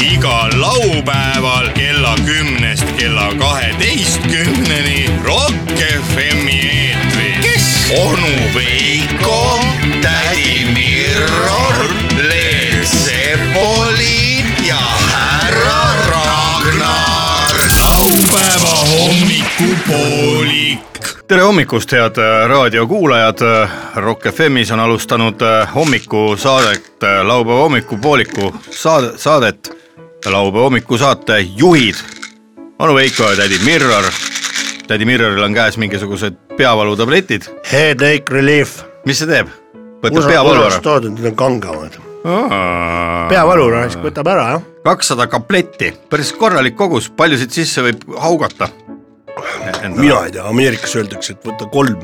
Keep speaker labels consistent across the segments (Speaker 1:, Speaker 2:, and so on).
Speaker 1: igal laupäeval kella kümnest kella kaheteistkümneni Rock FM-i eetris . kes ? onu Veiko , tädi Mirror , Leel Sepoli ja härra Ragnar . laupäeva hommikupoolik . tere hommikust , head äh, raadiokuulajad , Rock FM-is on alustanud äh, hommikusaadet , laupäeva hommikupooliku saade , saadet , laupäeva hommikusaate juhid Anu Veiko ja tädi Mirror . tädi Mirroril on käes mingisugused peavalutabletid ,
Speaker 2: Headache relief .
Speaker 1: mis see teeb ? võtab peavalu ära ?
Speaker 2: toodud , need on kangemad . peavalu raisk võtab ära jah .
Speaker 1: kakssada kapletti , päris korralik kogus , paljusid sisse võib haugata .
Speaker 2: mina ei tea , Ameerikas öeldakse , et võta kolm .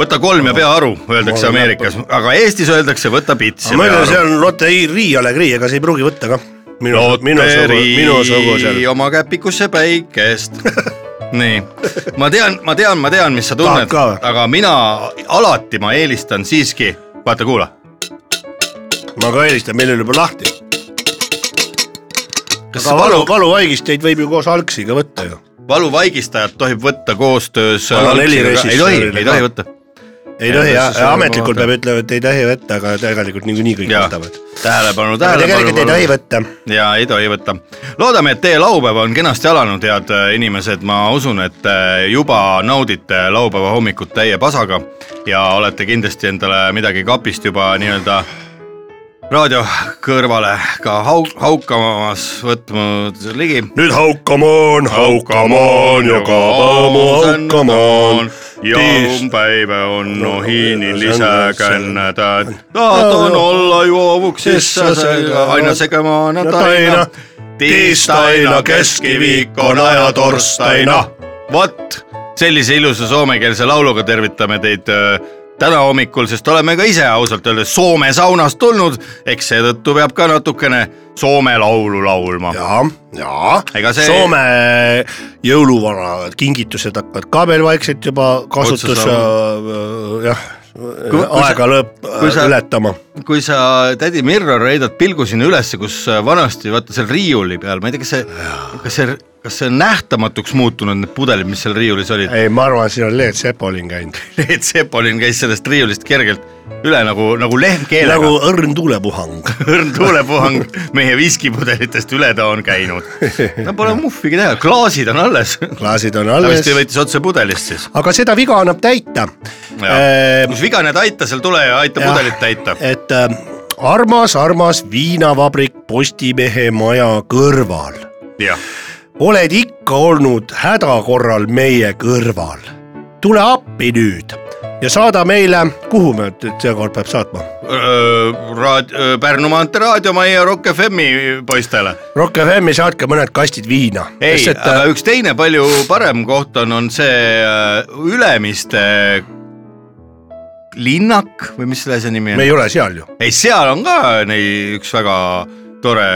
Speaker 1: võta kolm ja pea aru , öeldakse Ameerikas , aga Eestis öeldakse võta pits ja
Speaker 2: ma
Speaker 1: pea
Speaker 2: ütlen , see
Speaker 1: aru .
Speaker 2: on loterii , alegrii , ega see ei pruugi võtta ka . minu , minu , minusugusel .
Speaker 1: oma käpikusse päikest . nii , ma tean , ma tean , ma tean , mis sa tunned
Speaker 2: Tahad ka või? ,
Speaker 1: aga mina alati ma eelistan siiski , vaata , kuula ,
Speaker 2: ma ka eelistan , meil oli juba lahti .
Speaker 1: Kas
Speaker 2: aga
Speaker 1: see
Speaker 2: valu
Speaker 1: valu- ,
Speaker 2: valuvaigisteid võib ju koos algsiga võtta ju .
Speaker 1: valuvaigistajat tohib võtta koostöös .
Speaker 2: Anna neli noh.
Speaker 1: ei tohi ,
Speaker 2: režissöörile
Speaker 1: ei
Speaker 2: ka.
Speaker 1: tohi võtta .
Speaker 2: ei tohi
Speaker 1: Ja
Speaker 2: ja
Speaker 1: siis see-
Speaker 2: ametlikult peab ütlema , et ei tohi võtta , aga tegelikult niikuinii kõik
Speaker 1: ja
Speaker 2: võtavad .
Speaker 1: tähelepanu ,
Speaker 2: aga tegelikult ei tohi
Speaker 1: tähelepanu .
Speaker 2: võtta .
Speaker 1: ja ei tohi võtta . loodame , et teie laupäev on kenasti alanud , head äh, inimesed , ma usun , et äh, juba naudite laupäeva hommikut täie pasaga ja olete kindlasti endale midagi kapist juba nii-öelda raadio kõrvale ka hauk- , haukamas võtnud ligi .
Speaker 2: nüüd haukamoon , haukamoon ja kabamu haukamoon .
Speaker 1: jaun päivä on ohiini lisäkännätään . Tahton olla juovuksissa sekä aina sekä maanantaina. Tiistaina , keskiviikkona ja torstaina . vot sellise ilusa soomekeelse lauluga tervitame teid öö, täna hommikul , sest oleme ka ise ausalt öeldes Soome saunast tulnud , eks seetõttu peab ka natukene Soome laulu laulma .
Speaker 2: ja , ja
Speaker 1: Ega see-
Speaker 2: Soome jõuluvana kingitused hakkavad ka veel vaikselt juba kasutus äh,
Speaker 1: Otsa ,
Speaker 2: jah ,
Speaker 1: Kui- kui sa-
Speaker 2: aega lõpp
Speaker 1: kui sa-
Speaker 2: ületama .
Speaker 1: kui sa , tädi Mirror , heidad pilgu sinna ülesse , kus äh, vanasti vaata seal riiuli peal , ma ei tea , kas see , kas see , kas see on nähtamatuks muutunud , need pudelid , mis seal riiulis olid .
Speaker 2: ei , ma arvan , siin on Leet Sepolin käinud .
Speaker 1: Leet Sepolin käis sellest riiulist kergelt üle nagu , nagu lehm keelega
Speaker 2: nagu
Speaker 1: nagu... ,
Speaker 2: õrn tuulepuhang .
Speaker 1: õrn tuulepuhang meie viskipudelitest üle ta on käinud . no pole muhvigi teha , klaasid on alles .
Speaker 2: klaasid on
Speaker 1: ta
Speaker 2: alles
Speaker 1: vist , võttis otse pudelist siis .
Speaker 2: aga seda viga annab täita . Äh,
Speaker 1: kus viga näed , aita seal tule ja aita pudelit täita .
Speaker 2: et äh, armas , armas viinavabrik Postimehe maja kõrval
Speaker 1: jah ,
Speaker 2: oled ikka olnud hädakorral meie kõrval . tule appi nüüd ja saada meile , kuhu me nüüd seekord peab saatma ?
Speaker 1: Äh, raad- , Pärnu maantee raadiomajja Rock FM-i poistele
Speaker 2: Rock FM-i saatke mõned kastid viina .
Speaker 1: ei ,
Speaker 2: et äh,
Speaker 1: aga üks teine palju parem koht on , on see äh, Ülemiste äh, linnak või mis selle asja nimi
Speaker 2: äh, me
Speaker 1: on ?
Speaker 2: ei ole seal ju .
Speaker 1: ei , seal on ka neil üks väga tore ,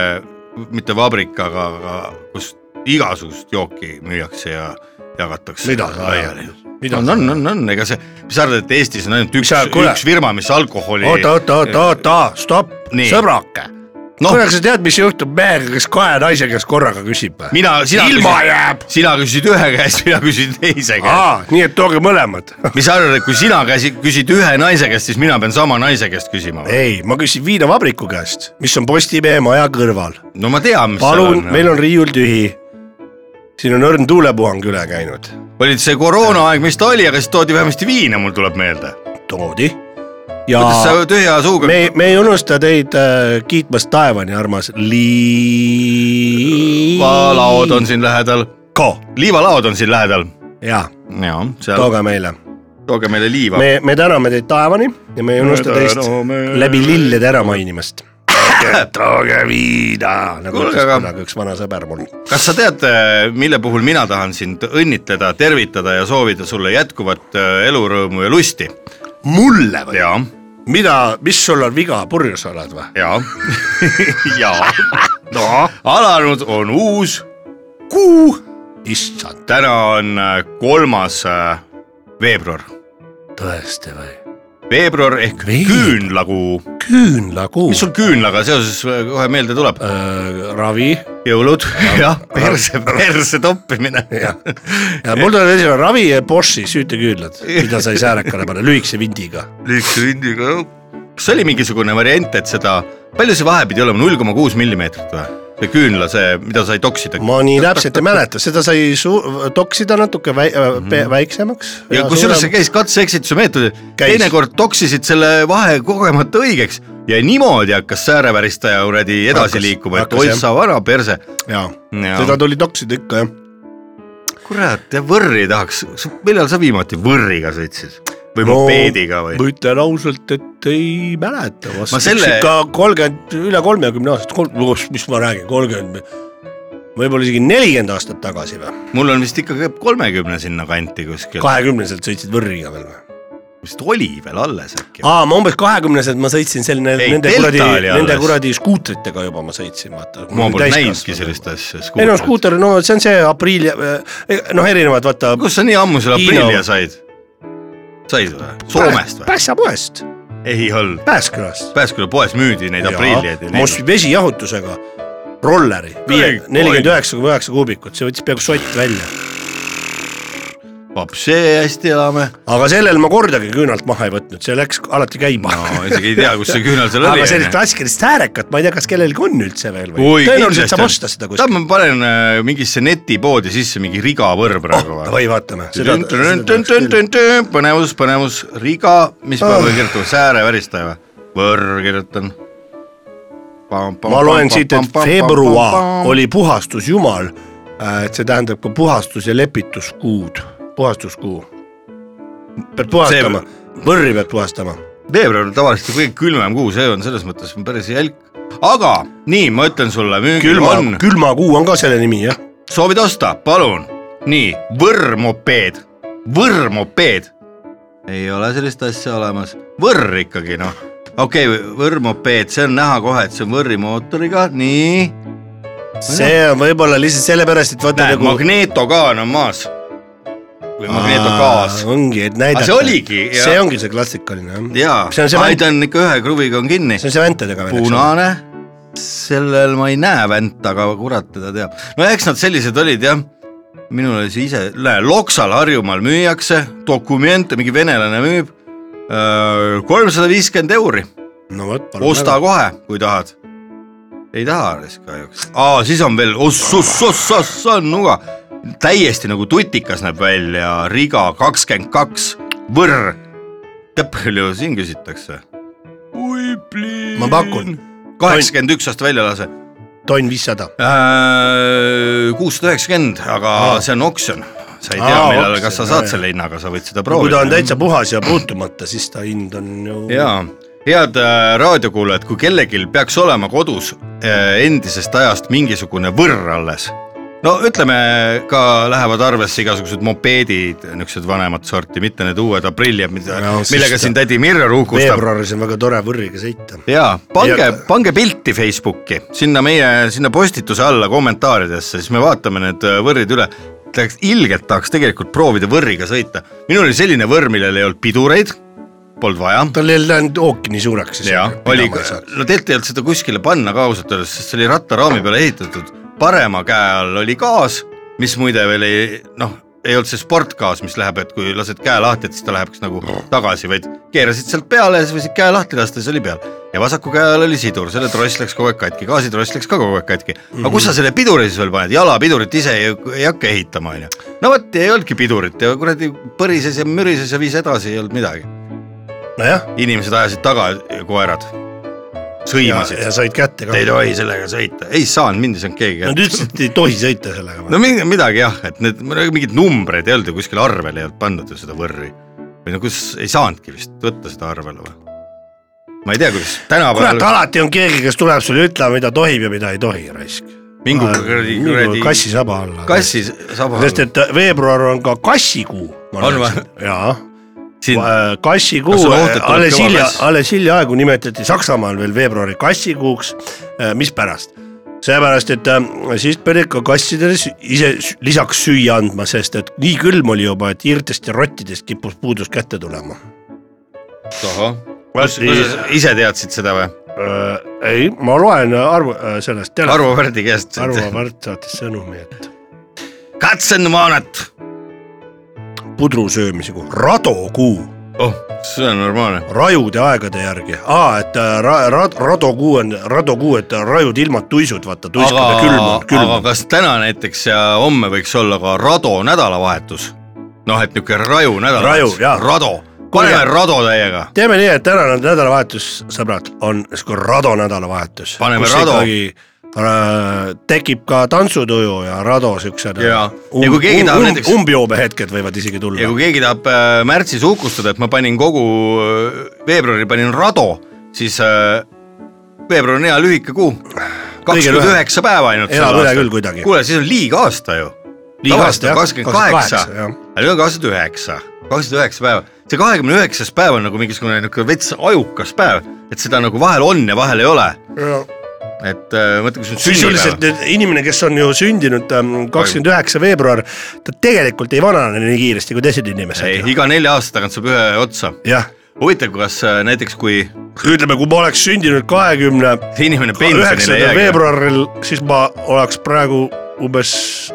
Speaker 1: mitte vabrik , aga , aga kus igasugust jooki müüakse ja jagatakse
Speaker 2: mida sa
Speaker 1: laiali .
Speaker 2: ajad ?
Speaker 1: on , on , on , on , ega see , mis sa arvad , et Eestis on ainult üks
Speaker 2: sa- , kuule.
Speaker 1: üks firma , mis alkoholi
Speaker 2: oota , oota , oota , oota , stopp ,
Speaker 1: Nii.
Speaker 2: sõbrake .
Speaker 1: Noh.
Speaker 2: noh , kuule , kas sa tead , mis juhtub mehega , kes kahe naise käest korraga küsib ?
Speaker 1: mina , sina
Speaker 2: ilma jääb .
Speaker 1: sina küsisid ühe käest , mina küsisin teise käest .
Speaker 2: aa , nii et tooge mõlemad .
Speaker 1: mis sa arvad , et kui sina käsi , küsid ühe naise käest , siis mina pean sama naise käest küsima või ?
Speaker 2: ei , ma küsin viinavabriku käest , mis on Postimehe maja kõrval
Speaker 1: no ma tean , mis
Speaker 2: palun ,
Speaker 1: seal
Speaker 2: meil
Speaker 1: on,
Speaker 2: on riiul tühi . siin on õrn tuulepuhang üle käinud .
Speaker 1: on... . olid see koroonaaeg , mis ta oli , aga siis toodi vähemasti viina , mul tuleb meelde .
Speaker 2: toodi . ja
Speaker 1: kuidas sa tühja suuga
Speaker 2: me
Speaker 1: me... ,
Speaker 2: me ei unusta teid äh, kiitmast taevani , armas
Speaker 1: liivalaod
Speaker 2: Liivalaod
Speaker 1: on siin lähedal ,
Speaker 2: ko- .
Speaker 1: liivalaod on siin lähedal .
Speaker 2: jaa ,
Speaker 1: jaa , seal tooge,
Speaker 2: tooge meile .
Speaker 1: tooge meile liiva me... .
Speaker 2: me , me täname teid taevani ja me ei unusta
Speaker 1: Me
Speaker 2: teist
Speaker 1: täname-
Speaker 2: läbi lillede ära mainimast . tooge viina , nagu
Speaker 1: Kuulge,
Speaker 2: ütles
Speaker 1: aga-
Speaker 2: kunagi üks vana sõber mul .
Speaker 1: kas sa tead , mille puhul mina tahan sind õnnitleda , tervitada ja soovida sulle jätkuvat äh, elurõõmu ja lusti ?
Speaker 2: mulle või ?
Speaker 1: jaa ,
Speaker 2: mida , mis sul on viga , purjus oled või ?
Speaker 1: jaa , jaa .
Speaker 2: noh ,
Speaker 1: alanud on uus
Speaker 2: kuu , issand .
Speaker 1: täna on äh, kolmas äh, veebruar
Speaker 2: tõesti või ?
Speaker 1: veebruar ehk
Speaker 2: Veebruar.
Speaker 1: küünlakuu .
Speaker 2: küünlakuu .
Speaker 1: mis sul küünlaga seoses kohe meelde tuleb ?
Speaker 2: äh, ravi
Speaker 1: jõulud ja perse , perse toppimine .
Speaker 2: ja , ja mul tuleb esimene ravi ja Boschi süüteküünlad , mida sai säälekale panna lühikese vindiga .
Speaker 1: lühikese vindiga . kas oli mingisugune variant , et seda , palju see vahe pidi olema , null koma kuus millimeetrit või ? see küünla , see , mida sai toksida .
Speaker 2: ma nii täpselt ei mäleta , seda sai su- , toksida natuke väi- , väiksemaks .
Speaker 1: Mhm. ja kusjuures see käis katse-eksituse meetodil ,
Speaker 2: Käis.
Speaker 1: teinekord toksisid selle vahe kogemata õigeks ja niimoodi hakkas sääreväristaja kuradi edasi
Speaker 2: Hakkas-
Speaker 1: liikuma , et
Speaker 2: hakkas,
Speaker 1: oi
Speaker 2: jah.
Speaker 1: sa vana perse .
Speaker 2: jaa , seda tuli toksida ikka jah .
Speaker 1: kurat , ja võrri tahaks , millal sa viimati võrriga sõitsid või mopeediga või ?
Speaker 2: ma ütlen ausalt , et ei mäleta vast .
Speaker 1: Ma selle-
Speaker 2: ikka kolmkümmend , üle kolmekümne aastat , kolm , mis ma räägin , kolmkümmend , võib-olla isegi nelikümmend aastat tagasi või ,
Speaker 1: mul on vist ikkagi kolmekümne sinna kanti kuskil ,
Speaker 2: kahekümneselt sõitsid võrriga veel või ?
Speaker 1: vist oli veel alles äkki .
Speaker 2: aa , ma umbes kahekümneselt ma sõitsin selle ,
Speaker 1: Ei,
Speaker 2: nende
Speaker 1: Delta
Speaker 2: kuradi
Speaker 1: oli , alles.
Speaker 2: nende kuradi skuutritega juba ma sõitsin , vaata .
Speaker 1: ma polnud näinudki sellist asja .
Speaker 2: ei no skuuter , no see on see aprill ja eh, noh , erinevad vaata .
Speaker 1: kus sa nii ammu selle
Speaker 2: Hiina-
Speaker 1: aprillia said ? said või ? Soomest või ?
Speaker 2: Päässapoest ,
Speaker 1: ei olnud .
Speaker 2: Pääskülast .
Speaker 1: Pääsküla poes müüdi neid aprilliaid ja
Speaker 2: ma
Speaker 1: neid .
Speaker 2: ostsin vesijahutusega rolleri ,
Speaker 1: Oi,
Speaker 2: nelikümmend üheksa koma üheksa kuubikut , see võttis peaaegu sott välja .
Speaker 1: vaps , see hästi elame .
Speaker 2: aga sellel ma kordagi küünalt maha ei võtnud , see läks alati käima no, .
Speaker 1: ma isegi ei tea , kus see küünal seal oli
Speaker 2: aga . sellist klassikalist häärekat ma ei tea , kas kellelgi on üldse veel
Speaker 1: Oi,
Speaker 2: või ?
Speaker 1: kindlasti
Speaker 2: tõenäoliselt saab
Speaker 1: on.
Speaker 2: osta seda
Speaker 1: tead ,
Speaker 2: kuskilt .
Speaker 1: ma panen äh, mingisse netipoodi sisse mingi rigavõrr praegu oh, .
Speaker 2: või vaatame .
Speaker 1: põnevus , põnevus , riga , mis ma
Speaker 2: Ah.
Speaker 1: pean kirjutama , sääreväristaja või ? võrr kirjutan .
Speaker 2: ma loen siit , et veebruar . oli puhastusjumal , et see tähendab ka puhastus- ja lepituskuud , puhastuskuu . pead puhastama , võrri pead puhastama .
Speaker 1: veebruar on tavaliselt kõige külmem kuu , see on selles mõttes päris jälk . aga nii , ma ütlen sulle , müügil
Speaker 2: külma
Speaker 1: on ,,
Speaker 2: külmakuu on ka selle nimi jah ,
Speaker 1: soovid osta , palun . nii , võrrmopeed , võrrmopeed . ei ole sellist asja olemas , võrr ikkagi noh , okei okay, , võrrmopeed , see on näha kohe , et see on võrrimootoriga , nii .
Speaker 2: see on võib-olla lihtsalt sellepärast , et vaata
Speaker 1: näed nagu... ,
Speaker 2: nagu
Speaker 1: magnetokaan on maas . või magnetokaas
Speaker 2: Aa, . ongi , et
Speaker 1: Aga
Speaker 2: näidata .
Speaker 1: see oligi, jah.
Speaker 2: see ongi see klassikaline jah ,
Speaker 1: jaa ,
Speaker 2: see on see vänt-
Speaker 1: ta on ikka ühe kruviga on kinni .
Speaker 2: see on see väntadega veel , eks ole .
Speaker 1: punane , sellel ma ei näe vänt , aga kurat teda teab . no eks nad sellised olid jah , minul oli see ise , näe Loksal Harjumaal müüakse , dokumente , mingi venelane müüb , kolmsada viiskümmend euri ,
Speaker 2: no vot ,
Speaker 1: osta . kohe , kui tahad . ei taha risk kahjuks , aa siis on veel oss-oss-oss-oss-nuga , täiesti nagu tutikas näeb välja , riga kakskümmend kaks , võrr , tead palju siin küsitakse ? oi pliin .
Speaker 2: ma pakun ,
Speaker 1: kaheksakümmend üks aasta väljalase .
Speaker 2: tonn viissada .
Speaker 1: Äh, kuussada üheksakümmend , aga
Speaker 2: Aa.
Speaker 1: see on oksjon . sa ei tea
Speaker 2: Aa, ,
Speaker 1: millal ,
Speaker 2: oksjon,
Speaker 1: kas sa
Speaker 2: jah,
Speaker 1: saad
Speaker 2: jah.
Speaker 1: selle hinnaga , sa võid seda
Speaker 2: kui ta on
Speaker 1: proovida .
Speaker 2: täitsa puhas ja puutumata , siis ta hind on ju .
Speaker 1: jaa , head äh, raadiokuulajad , kui kellelgi peaks olema kodus äh, endisest ajast mingisugune võrr alles , no ütleme ka lähevad arvesse igasugused mopeedid , niisugused vanemat sorti , mitte need uued aprilliad , mida
Speaker 2: No, , siis
Speaker 1: millega
Speaker 2: ta-
Speaker 1: siin tädi Mirro ruukustab .
Speaker 2: veebruaris on väga tore võrriga sõita
Speaker 1: jaa , pange
Speaker 2: Ja- ,
Speaker 1: pange pilti Facebooki , sinna meie , sinna postituse alla kommentaaridesse , siis me vaatame need äh, võrrid üle . tahaks , ilgelt tahaks tegelikult proovida võrriga sõita . minul oli selline võrr , millel ei olnud pidureid , polnud vaja .
Speaker 2: tal ei läinud ooki nii suureks .
Speaker 1: jaa , oli , no tegelikult ei olnud seda kuskile panna ka ausalt öeldes , sest see oli rattaraami peale ehitatud . parema käe all oli gaas , mis muide veel ei , noh , ei olnud see sportgaas , mis läheb , et kui lased käe lahti , et siis ta läheb kas nagu tagasi , vaid keerasid sealt peale ja siis võisid käe lahti lasta ja see oli peal . ja vasaku käe all oli sidur , selle tross läks kogu aeg katki , gaasitross läks ka kogu aeg katki . aga kus sa selle piduri siis veel paned , jalapidurit ise ei, ei hakka ehitama , onju . no vot , ei olnudki pidurit ja kuradi põrises ja mürises ja viis edasi , ei olnud midagi
Speaker 2: nojah ,
Speaker 1: inimesed ajasid taga , koerad ,
Speaker 2: ja,
Speaker 1: sõimasid ,
Speaker 2: ja said kätte ka
Speaker 1: te ei . tohi sellega sõita , ei saanud , mind ei saanud keegi
Speaker 2: Nad
Speaker 1: kätte .
Speaker 2: ütlesid , et ei tohi sõita sellega
Speaker 1: no
Speaker 2: no, .
Speaker 1: mingi midagi jah , et need mingid numbreid ei olnud ju kuskil arvel ei olnud pandud ju seda võrri või no kus ei saanudki vist võtta seda arvele või ? ma ei tea , kuidas
Speaker 2: kurat ,
Speaker 1: tänapäeval
Speaker 2: alati on keegi , kes tuleb sulle ütlema , mida tohib ja mida ei tohi , raisk .
Speaker 1: mingu kuradi , kuradi
Speaker 2: kassi saba alla .
Speaker 1: kassi saba
Speaker 2: sest , et äh, veebruar on ka kassikuu .
Speaker 1: On või? ?
Speaker 2: jaa ,
Speaker 1: siin Kas
Speaker 2: kassikuu
Speaker 1: on oht, et tuleb ,
Speaker 2: Äh, alles
Speaker 1: kõva
Speaker 2: hilja
Speaker 1: kass? ,
Speaker 2: alles hiljaaegu nimetati Saksamaal veel veebruari kassikuuks . mispärast ? seepärast , et äh, siis pidi ka kassidele sü- ise sü- lisaks süüa andma , sest et nii külm oli juba , et hiirtest ja rottidest kippus puudus kätte tulema .
Speaker 1: ahah , kas sa ise teadsid seda või ?
Speaker 2: äh, ei , ma loen Arvo äh, sellest telefoni ,
Speaker 1: Arvo Pärdi käest .
Speaker 2: Arvo Pärt saatis sõnumi , et
Speaker 1: katsen maanat .
Speaker 2: pudru söömisega , radokuu ,
Speaker 1: oh , see on normaalne .
Speaker 2: rajude aegade järgi , aa , et äh, ra- , ra- , radokuu on , radokuu , et äh, rajud ilmad tuisud , vaata tuiskade külm
Speaker 1: aga
Speaker 2: on ,, külm
Speaker 1: aga
Speaker 2: on .
Speaker 1: kas täna näiteks ja homme võiks olla ka rado nädalavahetus ? noh , et niisugune raju nädalavahetus
Speaker 2: Raju, jaa. ,
Speaker 1: rado , paneme rado täiega .
Speaker 2: teeme nii , et tänane nädalavahetus , sõbrad , on sihuke rado nädalavahetus .
Speaker 1: Paneme rado.
Speaker 2: tekib ka tantsutuju ja rado äh, siukse .
Speaker 1: Jaa. Ja kui keegi tahab näiteks-
Speaker 2: um- umbjoobehetked võivad isegi
Speaker 1: ja
Speaker 2: tulla .
Speaker 1: kui keegi tahab äh, märtsis uhkustada , et ma panin kogu äh, veebruari panin rado , siis äh, veebruar on hea lühike kuu . kakskümmend
Speaker 2: lühem.
Speaker 1: üheksa päeva ainult .
Speaker 2: Elab üle küll kuidagi.
Speaker 1: kuule , siis on liiga aasta ju .
Speaker 2: Liiga aasta, jah.
Speaker 1: kakskümmend kaheksa ,
Speaker 2: 28, jah.
Speaker 1: aga nüüd on kakskümmend üheksa , kakskümmend üheksa päeva . see kahekümne üheksas päev on nagu mingisugune niisugune vets ajukas päev , et seda nagu vahel on ja vahel ei ole . et äh, mõtle , kui see on
Speaker 2: sisuliselt
Speaker 1: sünnipäev .
Speaker 2: nüüd inimene , kes on ju sündinud ähm, kakskümmend üheksa veebruar , ta tegelikult ei vanane nii kiiresti kui teised
Speaker 1: ei ,
Speaker 2: inimesed .
Speaker 1: iga nelja aasta tagant saab ühe otsa .
Speaker 2: jah ,
Speaker 1: huvitav , kas äh, näiteks , kui
Speaker 2: ütleme , kui ma oleks sündinud kahekümne
Speaker 1: see inimene pensionile
Speaker 2: üheksandal
Speaker 1: jääb
Speaker 2: veebruaril , siis ma oleks praegu umbes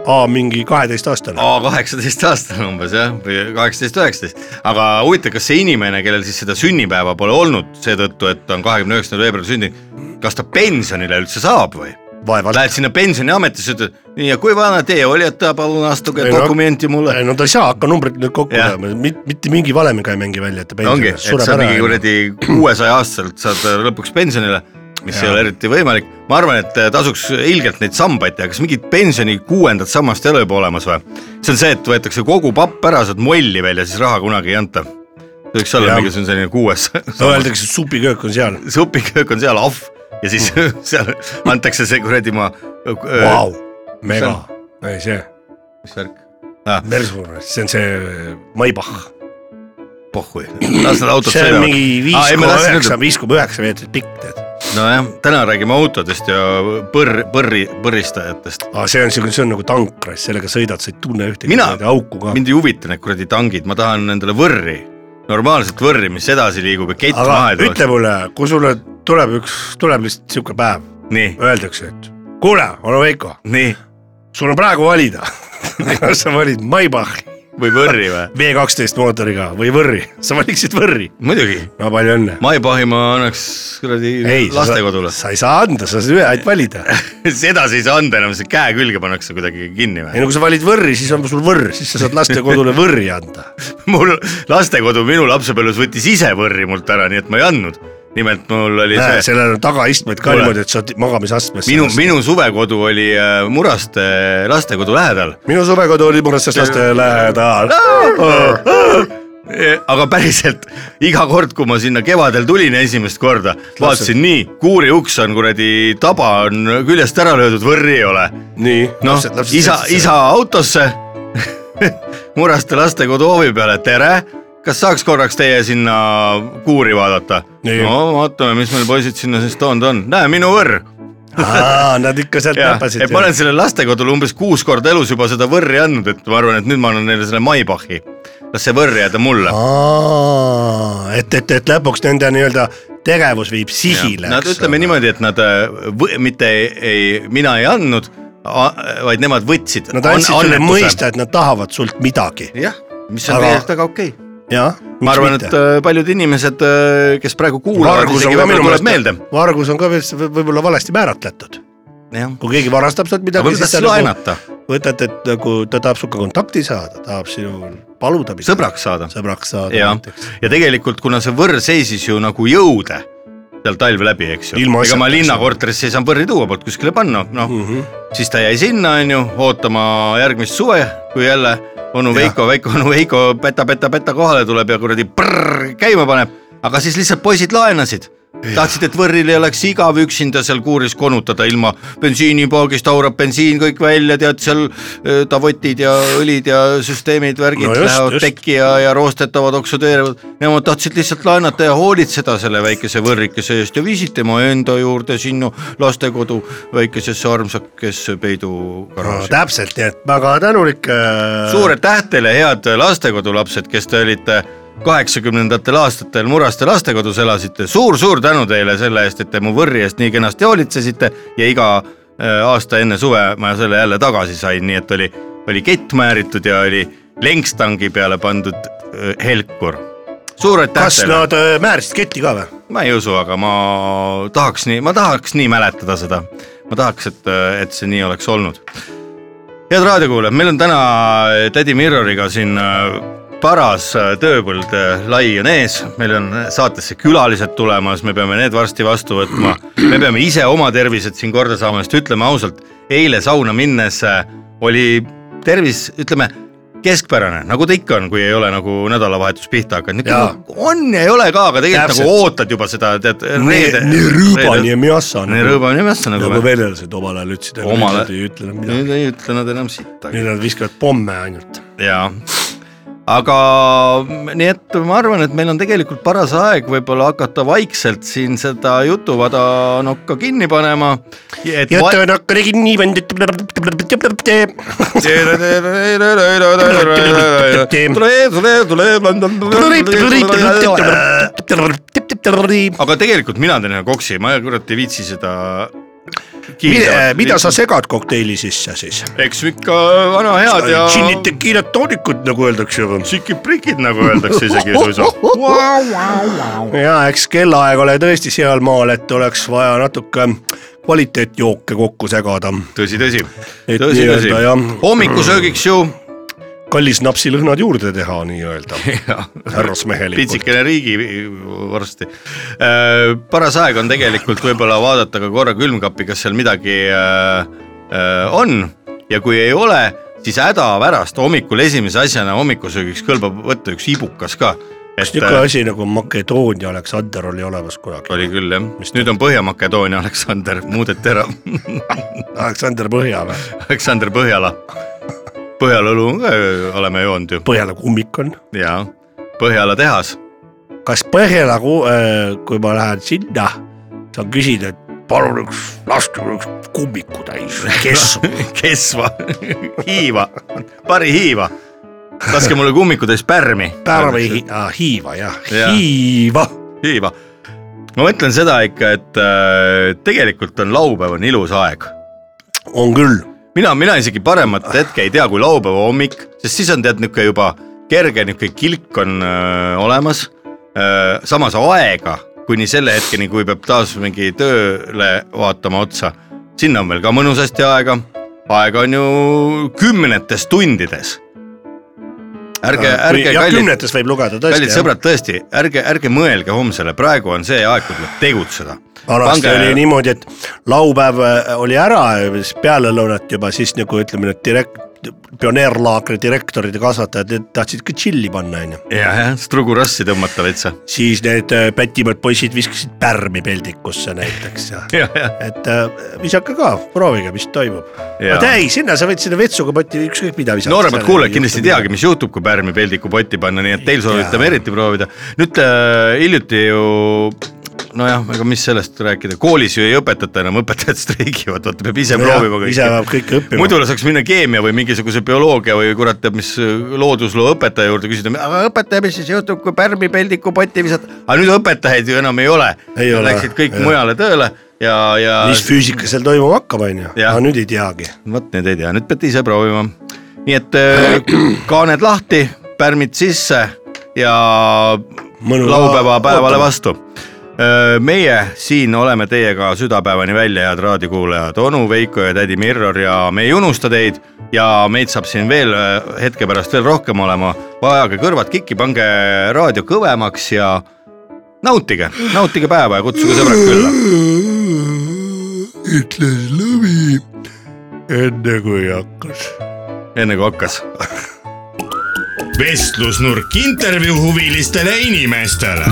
Speaker 2: A mingi kaheteistaastane .
Speaker 1: A kaheksateist aastane umbes jah , või kaheksateist , üheksateist , aga huvitav , kas see inimene , kellel siis seda sünnipäeva pole olnud seetõttu , et ta on kahekümne üheksandal veebruaril sündinud , kas ta pensionile üldse saab või ?
Speaker 2: vaevalt .
Speaker 1: Lähed sinna pensioniametisse , ütled nii ja kui vana te olete , palun astuge
Speaker 2: Ei, no-
Speaker 1: dokumenti mulle .
Speaker 2: no ta ei saa hakka numbrit nüüd kokku
Speaker 1: Jah.
Speaker 2: lööma , mitte mingi valemiga ei mängi välja , et ta
Speaker 1: ongi ,
Speaker 2: pensionis
Speaker 1: et sa mingi . kuradi kuuesaja aastaselt saad lõpuks pensionile , mis ja. ei
Speaker 2: Jaa.
Speaker 1: ole eriti võimalik . ma arvan , et äh, tasuks ilgelt neid sambaid teha , kas mingit pensioni kuuendat sammast ei ole juba olemas või ? see on see , et võetakse kogu papp ära , saad molli veel ja siis raha kunagi ei anta . see võiks olla
Speaker 2: Jah.
Speaker 1: mingisugune selline kuues
Speaker 2: no öeldakse , et supiköök on seal .
Speaker 1: supiköök on seal ahv ja siis seal antakse see kuradi maa .
Speaker 2: Mm. Vau , mega , ei see ,
Speaker 1: mis värk ah, ?
Speaker 2: Mersuur , see on see Maybach .
Speaker 1: pohhui , las nad autod
Speaker 2: see on
Speaker 1: sõidavad .
Speaker 2: mingi
Speaker 1: Aa,
Speaker 2: viis
Speaker 1: ei, ma
Speaker 2: koma
Speaker 1: tahtsin
Speaker 2: üheksa ,
Speaker 1: öelda-
Speaker 2: viis koma üheksa meetrit pikk tead .
Speaker 1: nojah , täna räägime autodest ja põrr , põrri , põrristajatest .
Speaker 2: aga see on siuke , see on nagu tankras , sellega sõidad , sa ei tunne ühtegi
Speaker 1: Mina-
Speaker 2: kuradi auku ka .
Speaker 1: mind ei huvita need kuradi tangid , ma tahan endale võrri , normaalset võrri , mis edasi liigub ja kett
Speaker 2: aga
Speaker 1: maha ei tuleks .
Speaker 2: ütle mulle , kui sulle tuleb üks , tuleb lihtsalt sihuke päev ,
Speaker 1: nii ,
Speaker 2: öeldakse , et kuule , onu Veiko ,
Speaker 1: nii
Speaker 2: sul on praegu valida , kas sa valid Maybachi
Speaker 1: või võrri või ?
Speaker 2: V kaksteist mootoriga või Võrri , sa valiksid Võrri .
Speaker 1: muidugi ,
Speaker 2: no palju õnne .
Speaker 1: maipahi ma annaks kuradi lastekodule ,
Speaker 2: sa ei saa anda , sa saad ühe ainult valida .
Speaker 1: sedasi ei saa anda enam , see käe külge pannakse kuidagi kinni
Speaker 2: ei
Speaker 1: või ?
Speaker 2: no kui sa valid Võrri , siis on sul Võrr , siis sa saad lastekodule Võrri anda .
Speaker 1: mul lastekodu minu lapsepõlves võttis ise võrri mult ära , nii et ma ei andnud . nimelt mul oli see
Speaker 2: sellel on tagaistmed ka
Speaker 1: Kuule.
Speaker 2: niimoodi , et saad magamisastmesse .
Speaker 1: minu , minu suvekodu oli äh, Muraste lastekodu lähedal ,
Speaker 2: minu suvekodu oli Muressas laste lähedal .
Speaker 1: aga päriselt iga kord , kui ma sinna kevadel tulin esimest korda , vaatasin nii , kuuri uks on kuradi taba on küljest ära löödud , võrri ei ole .
Speaker 2: nii .
Speaker 1: noh , isa , isa . autosse Muraste lastekodu hoovi peale , tere , kas saaks korraks teie sinna kuuri vaadata ?
Speaker 2: Nii.
Speaker 1: no vaatame , mis meil poisid sinna siis toonud on , näe minu võrr
Speaker 2: aa , nad ikka sealt
Speaker 1: jah ,
Speaker 2: näpasid
Speaker 1: et . ma olen sellele lastekodule umbes kuus korda elus juba seda võrri andnud , et ma arvan , et nüüd ma annan neile selle Maybachi . las see võrr jääda mulle .
Speaker 2: aa , et , et , et lõpuks nende nii-öelda tegevus viib sihile .
Speaker 1: Nad ütleme . niimoodi , et nad äh, võ- mitte ei, ei , mina ei andnud , vaid nemad võtsid .
Speaker 2: Nad andsid sulle . mõista , et nad tahavad sult midagi .
Speaker 1: jah , mis on
Speaker 2: Aga-
Speaker 1: tegelikult väga okei okay. .
Speaker 2: jah .
Speaker 1: ma arvan , et äh, paljud inimesed , kes praegu kuulavad ,
Speaker 2: vargus on
Speaker 1: isegi
Speaker 2: ka
Speaker 1: võib-olla
Speaker 2: minu
Speaker 1: tuleb meelde .
Speaker 2: meelest , vargus on ka veel s- võib- võib-olla valesti määratletud .
Speaker 1: jah ,
Speaker 2: kui keegi varastab sult midagi ,
Speaker 1: võib-olla
Speaker 2: siis nagu
Speaker 1: tahtsid laenata ,
Speaker 2: võtad , et nagu ta tahab sinuga kontakti saada , tahab sinu paluda midagi .
Speaker 1: sõbraks saada .
Speaker 2: sõbraks saada
Speaker 1: jah , ja tegelikult kuna see võrr seisis ju nagu jõude seal talve läbi , eks ju ,
Speaker 2: Ilma
Speaker 1: ega ma
Speaker 2: asjata, eks ju.
Speaker 1: linnakorterisse ei saanud võrri tuua polnud kuskile panna , noh mm.
Speaker 2: Mm -hmm.
Speaker 1: siis ta jäi sinna , onju , ootama järgmist suve , kui jälle onu
Speaker 2: Jah.
Speaker 1: Veiko , väike onu Veiko päta-päta-päta kohale tuleb ja kuradi prrr käima paneb , aga siis lihtsalt poisid laenasid tahtsid , et võrril ei oleks igav üksinda seal kuuris konutada ilma bensiinipaagist haurab bensiin kõik välja , tead seal öö, tavotid ja õlid ja süsteemid , värgid
Speaker 2: No
Speaker 1: no
Speaker 2: just,
Speaker 1: lähevad
Speaker 2: just.
Speaker 1: tekki ja , ja roostetavad , oksudeerivad . Nemad tahtsid lihtsalt laenata ja hoolitseda selle väikese võrrikese eest ja viisid tema enda juurde sinna lastekodu väikesesse armsakesse
Speaker 2: no,
Speaker 1: peidugaraaži .
Speaker 2: täpselt , nii et väga tänulik . äh,
Speaker 1: suured tähtele , head lastekodulapsed , kes te olite kaheksakümnendatel aastatel Muraste lastekodus elasite suur,. suur-suur tänu teile selle eest, et te mu võrri eest nii kenasti hoolitsesite ja iga äh, aasta enne suve ma selle jälle tagasi sain, nii et oli, oli kett määritud ja oli lengstangi peale pandud äh, helkur. suur aitäh
Speaker 2: teile. kas nad määrisid ketti ka või?
Speaker 1: ma ei usu, aga ma tahaks nii, ma tahaks nii mäletada seda. ma tahaks, et, et see nii oleks olnud. head raadiokuulajad, meil on täna tädi Mirroriga siin äh, paras äh, tööpõld lai on ees, meil on saatesse külalised tulemas, me peame need varsti vastu võtma, me peame ise oma tervised siin korda saama, sest ütleme ausalt, eile sauna minnes äh, oli tervis, ütleme keskpärane, nagu ta ikka on, kui ei ole nagu nädalavahetus pihta hakanud, on ja ei ole ka, aga tegelikult Täpselt. nagu ootad juba seda, tead.
Speaker 2: nii rõõbani ja miassa.
Speaker 1: nii rõõbani ja miassa
Speaker 2: nagu. nagu venelased omal ajal ütlesid, aga
Speaker 1: omal...
Speaker 2: nüüd ei ütle enam midagi.
Speaker 1: nüüd ei ütle nad enam sittagi.
Speaker 2: nüüd nad viskavad pomme ainult.
Speaker 1: jaa, aga nii et ma arvan, et meil on tegelikult paras aeg võib-olla hakata vaikselt siin seda jutuvada nokka kinni panema.
Speaker 2: jutuvada nokka kinni panna
Speaker 1: aga tegelikult mina teen ühe koksi, ma kurat ei viitsi seda.
Speaker 2: mida, mida sa segad kokteili sisse siis?
Speaker 1: eks ikka äh, vana head ja.
Speaker 2: džinnid, tekiilad, toonikud nagu öeldakse.
Speaker 1: tšikiprikid nagu öeldakse isegi suisa.
Speaker 2: ja eks kellaaeg ole tõesti sealmaal, et oleks vaja natuke kvaliteetjooke kokku segada.
Speaker 1: tõsi, tõsi, tõsi, tõsi, hommikusöögiks ju.
Speaker 2: kallis napsilõhnad juurde teha nii-öelda härrasmehelikult.
Speaker 1: pitsikene riigi varsti. Äh, paras aeg on tegelikult võib-olla vaadata ka korra külmkappi, kas seal midagi äh, on ja kui ei ole, siis hädapärast hommikul esimese asjana hommikusöögiks kõlbab võtta üks ibukas ka
Speaker 2: kas niisugune asi nagu Makedoonia Aleksander oli olemas kunagi?
Speaker 1: äh, oli küll jah, nüüd on Põhja-Makedoonia Aleksander, muudeti ära
Speaker 2: Aleksander Põhja või?
Speaker 1: Aleksander Põhjala. Põhjala õlu oleme joonud ju.
Speaker 2: Põhjala kummik on.
Speaker 1: jaa, Põhjala tehas.
Speaker 2: kas Põhjala, äh, kui ma lähen sinna, saan küsida, et palun üks, laske üks kummiku täis, kesva
Speaker 1: kesva, hiiva, pari hiiva laske mulle kummikutäis pärmi.
Speaker 2: pärmi hi, ah, hiiva jah ja., hiiva.
Speaker 1: hiiva. ma mõtlen seda ikka, et äh, tegelikult on laupäev on ilus aeg.
Speaker 2: on küll.
Speaker 1: mina, mina isegi
Speaker 2: Ah.
Speaker 1: paremat hetke ei tea kui laupäeva hommik, sest siis on tead niisugune juba kerge niisugune kilk on äh, olemas äh,. samas aega kuni selle hetkeni, kui peab taas mingi tööle vaatama otsa, sinna on veel ka mõnusasti aega aega on ju kümnetes tundides ärge, ärge
Speaker 2: kallid. Äh, kümnetes võib lugeda
Speaker 1: tõesti. kallid sõbrad, tõesti, ärge, ärge mõelge homsele, praegu on see aeg, kui tuleb tegutseda.
Speaker 2: vanasti oli niimoodi, et laupäev äh, oli ära, siis pealelõunat juba siis nagu ütleme, need direkt-, pioneerlaagri direktorid ja kasvatajad tahtsid ka tšilli panna, onju.
Speaker 1: ja, jah, strugurassi tõmmata veitsa.
Speaker 2: siis need äh, pätimad poisid viskasid pärmi peldikusse näiteks ja, ja, ja. et äh, visake ka, proovige, mis toimub. aga ei, sinna sa võid sinna vetsukopotti ükskõik mida visata.
Speaker 1: nooremad kuulajad kindlasti ei teagi, mis juhtub, kui pärmi peldikupotti panna, nii et teil soovitame eriti proovida. nüüd äh, hiljuti ju nojah, aga mis sellest rääkida, koolis ju ei õpetata enam, õpetajad streigivad, vaata peab ise no proovima
Speaker 2: kõike. ise peab kõike õppima.
Speaker 1: muidu saaks minna keemia või mingisuguse bioloogia või kurat teab mis äh, loodusloo õpetaja juurde küsida, aga õpetaja, mis siis juhtub, kui pärmi peldiku potti visata, aga nüüd õpetajaid ju enam ei ole. Läksid kõik ja. mujale tööle ja, ja.
Speaker 2: mis füüsika seal toimuma hakkab, on ju, aga nüüd ei teagi.
Speaker 1: vot nüüd ei tea, nüüd peate ise proovima. nii et kaaned lahti, pärmid sisse ja Mõnu laupäeva päevale vastu Äh, meie siin oleme teiega südapäevani välja, head raadiokuulajad, onu Veiko ja tädi Mirror ja me ei unusta teid ja meid saab siin veel äh, hetke pärast veel rohkem olema. ajage kõrvad kikki, pange raadio kõvemaks ja nautige, nautige päeva ja kutsuge sõbrad külla.
Speaker 2: Äh, ütles lõvi enne kui hakkas.
Speaker 1: enne kui hakkas
Speaker 3: vestlusnurk intervjuu huvilistele inimestele.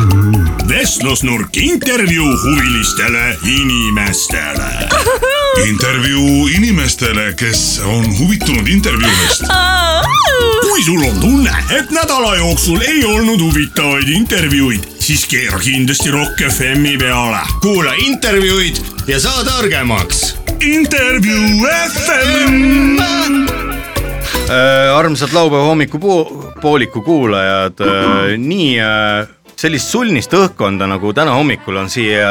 Speaker 3: vestlusnurk intervjuu huvilistele inimestele.
Speaker 4: intervjuu inimestele, kes on huvitunud intervjuudest.
Speaker 3: kui sul on tunne, et nädala jooksul ei olnud huvitavaid intervjuuid, siis keera kindlasti Rock FM-i peale. kuula intervjuud ja saa targemaks. intervjuu FM
Speaker 1: armsat Äh, laupäeva hommikupuu, pooliku kuulajad äh, nii äh, sellist sulnist õhkkonda nagu täna hommikul on siia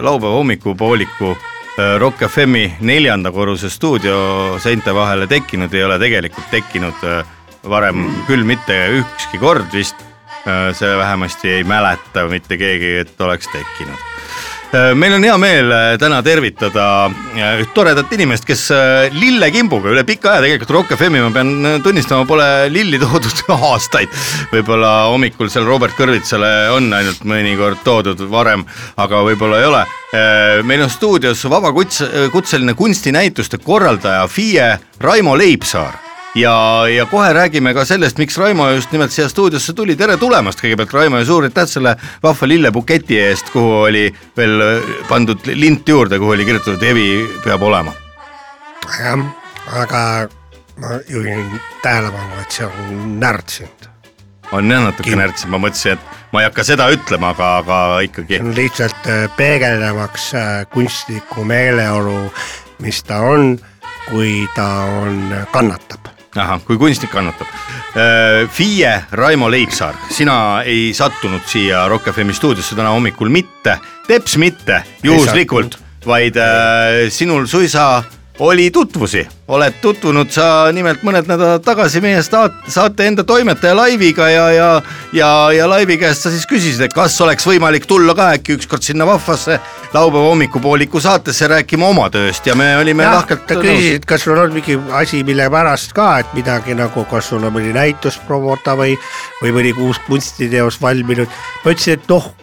Speaker 1: laupäeva hommikupooliku äh, Rock FM-i neljanda korruse stuudio seinte vahele tekkinud ei ole tegelikult tekkinud äh, varem küll mitte ükski kord vist äh,. see vähemasti ei mäleta mitte keegi, et oleks tekkinud Äh, meil on hea meel äh, täna tervitada äh, üht toredat inimest, kes äh, lille kimbuga üle pika aja tegelikult Rock FM-i ma pean äh, tunnistama, pole lilli toodud aastaid. võib-olla hommikul seal Robert Kõrvitsale on ainult mõnikord toodud varem, aga võib-olla ei ole. Äh, meil on stuudios vabakutse, kutseline kunstinäituste korraldaja FIE Raimo Leipsaar ja, ja kohe räägime ka sellest, miks Raimo just nimelt siia stuudiosse tuli, tere tulemast kõigepealt, Raimo ja suur aitäh selle vahva lillebuketi eest, kuhu oli veel äh, pandud lint juurde, kuhu oli kirjutatud Evi peab olema.
Speaker 2: jah, aga ma juhin tähelepanu, et see on närtsinud.
Speaker 1: on jah natuke närtsinud, ma mõtlesin, et ma ei hakka seda ütlema, aga, aga ikkagi.
Speaker 2: see on lihtsalt peegeldamaks kunstlikku äh, meeleolu, mis ta on, kui ta on, äh, kannatab
Speaker 1: ahah, kui kunstnik kannatab. Äh, FIE Raimo Leipsaar, sina ei sattunud siia Rock FM stuudiosse täna hommikul mitte, teps mitte, juhuslikult, vaid äh, sinul suisa oli tutvusi, oled tutvunud sa nimelt mõned nädalad tagasi meie staat-, saate enda toimetaja Laiviga ja, ja, ja, ja Laivi käest sa siis küsisid, et kas oleks võimalik tulla ka äkki ükskord sinna vahvasse laupäeva hommikupooliku saatesse rääkima oma tööst ja me olime
Speaker 2: ja, lahkelt. ta küsis, et kas sul on mingi asi, mille pärast ka, et midagi nagu, kas sul on mõni näitus promoda või, või mõni uus kunstiteos valminud. ma ütlesin, et noh,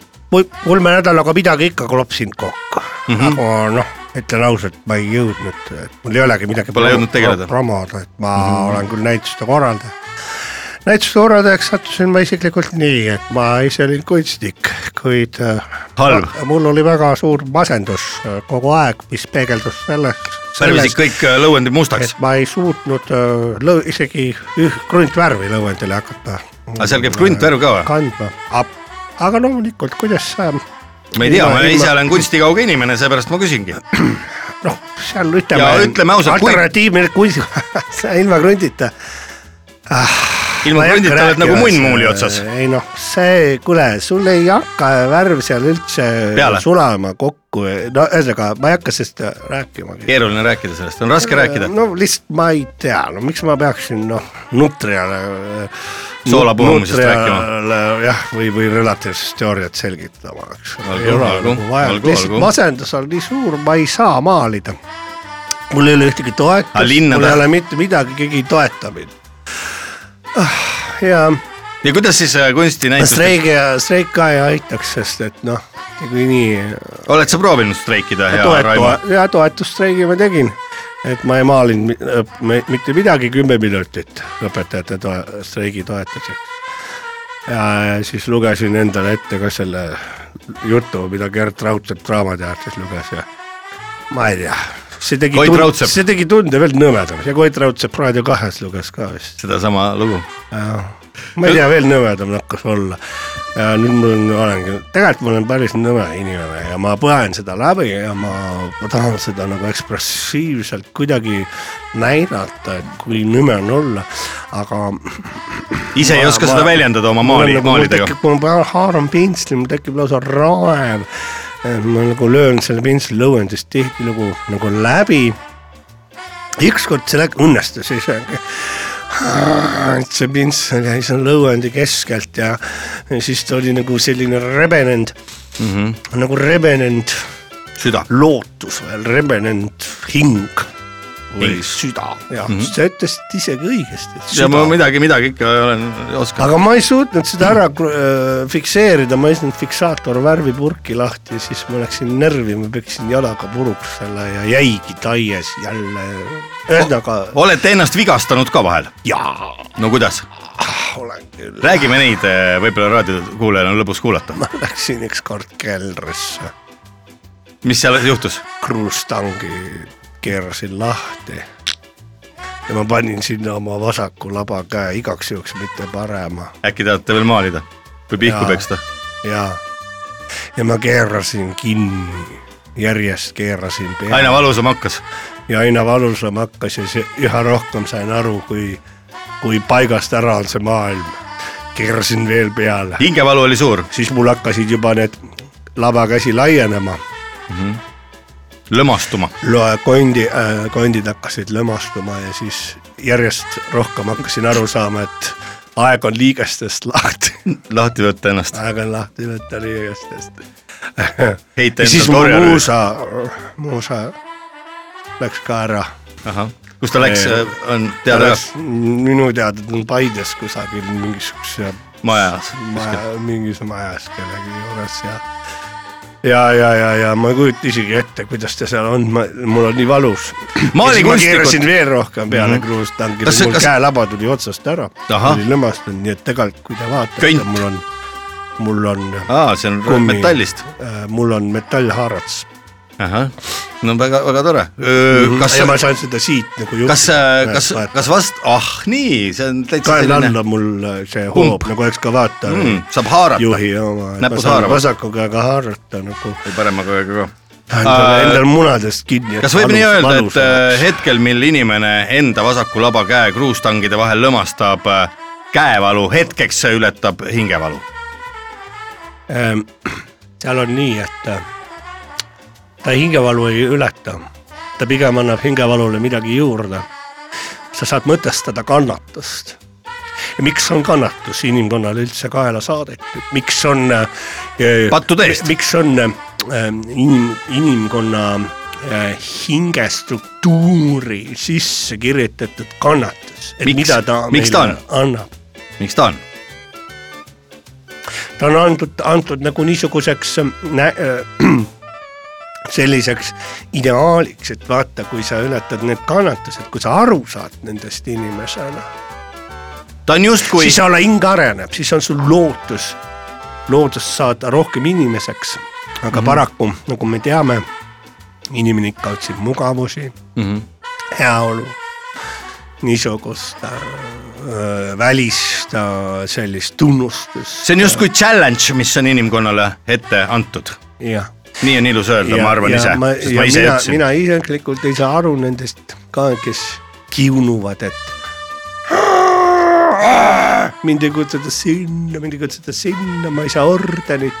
Speaker 2: kolme nädalaga midagi ikka klopsinud kokku mm, -hmm. aga noh ütlen ausalt, ma ei jõudnud, et mul ei olegi midagi
Speaker 1: Pole jõudnud tegeleda.
Speaker 2: promoda, et ma mm -hmm. olen küll näituste korraldaja. näituste korraldajaks sattusin ma isiklikult nii, et ma ise olin kunstnik, kuid äh,
Speaker 1: Halb.
Speaker 2: mul oli väga suur masendus äh, kogu aeg, mis peegeldus selles
Speaker 1: värvisid kõik lõuendi mustaks?
Speaker 2: ma ei suutnud lõu-, isegi kruntvärvi lõuendile hakata.
Speaker 1: aga seal käib kruntvärv ka või?
Speaker 2: kandma, aga loomulikult, kuidas
Speaker 1: ma ei tea, ma ise olen kunstikauge inimene, seepärast ma küsingi.
Speaker 2: noh, seal ütleme. ja
Speaker 1: ütleme ausalt.
Speaker 2: alternatiivne kunst ilma krundita
Speaker 1: ah,. ilma krundita oled nagu munn muuli otsas.
Speaker 2: ei noh, see, kuule, sul ei hakka värv seal üldse Peale. sulama kokku, no ühesõnaga, ma ei hakka sellest äh, rääkimagi.
Speaker 1: keeruline rääkida sellest, on raske rääkida.
Speaker 2: no lihtsalt ma ei tea, no miks ma peaksin noh, nutriale äh,
Speaker 1: soola puhumisest rääkima.
Speaker 2: jah, või, või relatiivsest teooriat selgitama, eks. nagu lihtsalt masendus on nii suur, ma ei saa maalida. mul ei ole ühtegi toetust, mul ei ole mitte midagi, keegi ei toeta mind. Ah, ja.
Speaker 1: ja kuidas siis äh, kunstinäitused?
Speaker 2: streigi, streik ka ei aitaks, sest et noh, niikuinii.
Speaker 1: oled sa proovinud streikida, hea Raimo?
Speaker 2: ja toetusstreigi ma tegin et ma ei maalinud mitte midagi, kümme minutit õpetajate toe, streigi toetuseks. ja siis lugesin endale ette ka selle jutu, mida Gerd Raudsepp Draamateatris luges ja ma ei tea, see tegi, see tegi tunde veel nõmedamaks ja Koit Raudsepp Raadio kahes luges ka vist.
Speaker 1: sedasama lugu?
Speaker 2: ma ei tea, veel nõmedam hakkas olla. ja nüüd mul on, olengi, tegelikult ma olen päris nõme inimene ja ma põen seda läbi ja ma, ma tahan seda nagu ekspressiivselt kuidagi näidata, et kui nõme on olla, aga.
Speaker 1: ise ma, ei oska ma, seda väljendada oma maali,
Speaker 2: nagu, maalidega? mul peal haaran pintsli, mul tekib lausa raev. ma nagu löön selle pintsli lõuendist tihtilugu nagu läbi. ükskord see õnnestus isegi see pintsel jäi seal lõuendi keskelt ja siis ta oli nagu selline rebenend mm,
Speaker 1: Mhm.
Speaker 2: -hmm. nagu rebenend.
Speaker 1: süda.
Speaker 2: lootus veel, rebenend hing või hing. süda, jah mm -hmm., sa ütlesid isegi õigesti.
Speaker 1: Mhm. ja ma midagi, midagi ikka olen osanud.
Speaker 2: aga ma ei suutnud seda ära äh, fikseerida, ma ei saanud fiksaator värvipurki lahti ja siis ma läksin närvi, ma peksin jalaga puruks selle ja jäigi taies jälle ühesõnaga.
Speaker 1: olete ennast vigastanud ka vahel?
Speaker 2: jaa.
Speaker 1: no kuidas?
Speaker 2: olen küll.
Speaker 1: räägime neid, äh, võib-olla raadiokuulajal on lõbus kuulata.
Speaker 2: ma läksin ükskord keldrisse.
Speaker 1: mis seal juhtus?
Speaker 2: kruustangi keerasin lahti ja ma panin sinna oma vasaku laba käe igaks juhuks, mitte parema.
Speaker 1: äkki tahate veel maalida või pihku peksta?
Speaker 2: jaa, ja ma keerasin kinni, järjest keerasin.
Speaker 1: aina valusam hakkas
Speaker 2: ja aina valusam hakkas ja see üha rohkem sain aru, kui kui paigast ära on see maailm. keerasin veel peale,
Speaker 1: hingevalu oli suur ,
Speaker 2: siis mul hakkasid juba need labakäsi laienema
Speaker 1: lõmastuma .
Speaker 2: loe kondi äh, , kondid hakkasid lõmastuma ja siis järjest rohkem hakkasin aru saama , et aeg on liigestest lahti ,
Speaker 1: lahti võtta ennast ,
Speaker 2: aeg on lahti võtta liigestest .
Speaker 1: heita
Speaker 2: ja siis
Speaker 1: enda
Speaker 2: mu
Speaker 1: torjarüüs .
Speaker 2: muusa , muusa läks ka ära .
Speaker 1: kus ta läks , on teada ka
Speaker 2: minu teada ta on Paides kusagil mingisuguse
Speaker 1: majas .
Speaker 2: maja , mingis majas kellegi juures ja ja , ja , ja , ja ma ei kujuta isegi ette , kuidas ta seal on , ma , mul on nii valus .
Speaker 1: Maalikunstnikud-
Speaker 2: keerasin veel rohkem peale
Speaker 1: Mhm.
Speaker 2: mm -hmm. kruustangile ,
Speaker 1: Kas see-
Speaker 2: mul
Speaker 1: kas-
Speaker 2: kas... käelaba tuli otsast ära ,
Speaker 1: Ahah.
Speaker 2: oli lõmastunud , nii et tegelikult kui te
Speaker 1: Könt.
Speaker 2: vaatate , mul on , mul on ,
Speaker 1: aa , see on
Speaker 2: Kummi.
Speaker 1: Ah,
Speaker 2: äh,
Speaker 1: metallist .
Speaker 2: mul on metallhaarats .
Speaker 1: ahah , no väga-väga tore . kas
Speaker 2: kas ja , Mhm. ma saan seda siit nagu
Speaker 1: kas , kas , kas vast , ah nii , see on täitsa
Speaker 2: kael
Speaker 1: selline
Speaker 2: alla , mul äh, see
Speaker 1: Pump.
Speaker 2: hoob nagu ekskavaator
Speaker 1: Mm, saab haarata.
Speaker 2: juhi oma , et ma
Speaker 1: Näpus
Speaker 2: saan
Speaker 1: haarama.
Speaker 2: vasaku käega haarata nagu
Speaker 1: või parema käega ka .
Speaker 2: endal , endal munadest kinni .
Speaker 1: kas võib nii öelda , et äh, hetkel , mil inimene enda vasaku laba käe kruustangide vahel lõmastab , käevalu hetkeks see ületab hingevalu ?
Speaker 2: et Ehm, seal on nii , et äh, ta hingevalu ei ületa , ta pigem annab hingevalule midagi juurde . sa saad mõtestada kannatust . ja miks on kannatus inimkonnale üldse kaela saadetud , miks on äh,
Speaker 1: Pattude eest.
Speaker 2: miks on äh, inim- , inimkonna äh, hingestruktuuri sisse kirjutatud kannatus , et
Speaker 1: Miks?
Speaker 2: miks? mida ta
Speaker 1: Miks ta
Speaker 2: meile annab
Speaker 1: miks ta on ?
Speaker 2: ta on antud , antud nagu niisuguseks nä- , selliseks ideaaliks , et vaata , kui sa ületad need kannatused , kui sa aru saad nendest inimesena ,
Speaker 1: ta on justkui
Speaker 2: siis ala hing areneb , siis on sul lootus , lootus saada rohkem inimeseks . aga mm
Speaker 1: Mhm.
Speaker 2: -hmm. paraku , nagu me teame , inimene ikka otsib mugavusi mm ,
Speaker 1: Mhm.
Speaker 2: heaolu , niisugust äh, välist äh, sellist tunnustust .
Speaker 1: see on justkui challenge , mis on inimkonnale ette antud .
Speaker 2: jah
Speaker 1: nii on ilus öelda , ma arvan
Speaker 2: ja
Speaker 1: ise ,
Speaker 2: ma,
Speaker 1: sest ma ise
Speaker 2: mina,
Speaker 1: ütlesin .
Speaker 2: mina isiklikult ei saa aru nendest ka , kes kiunuvad , et mind ei kutsuta sinna , mind ei kutsuta sinna , ma ei saa ordenit .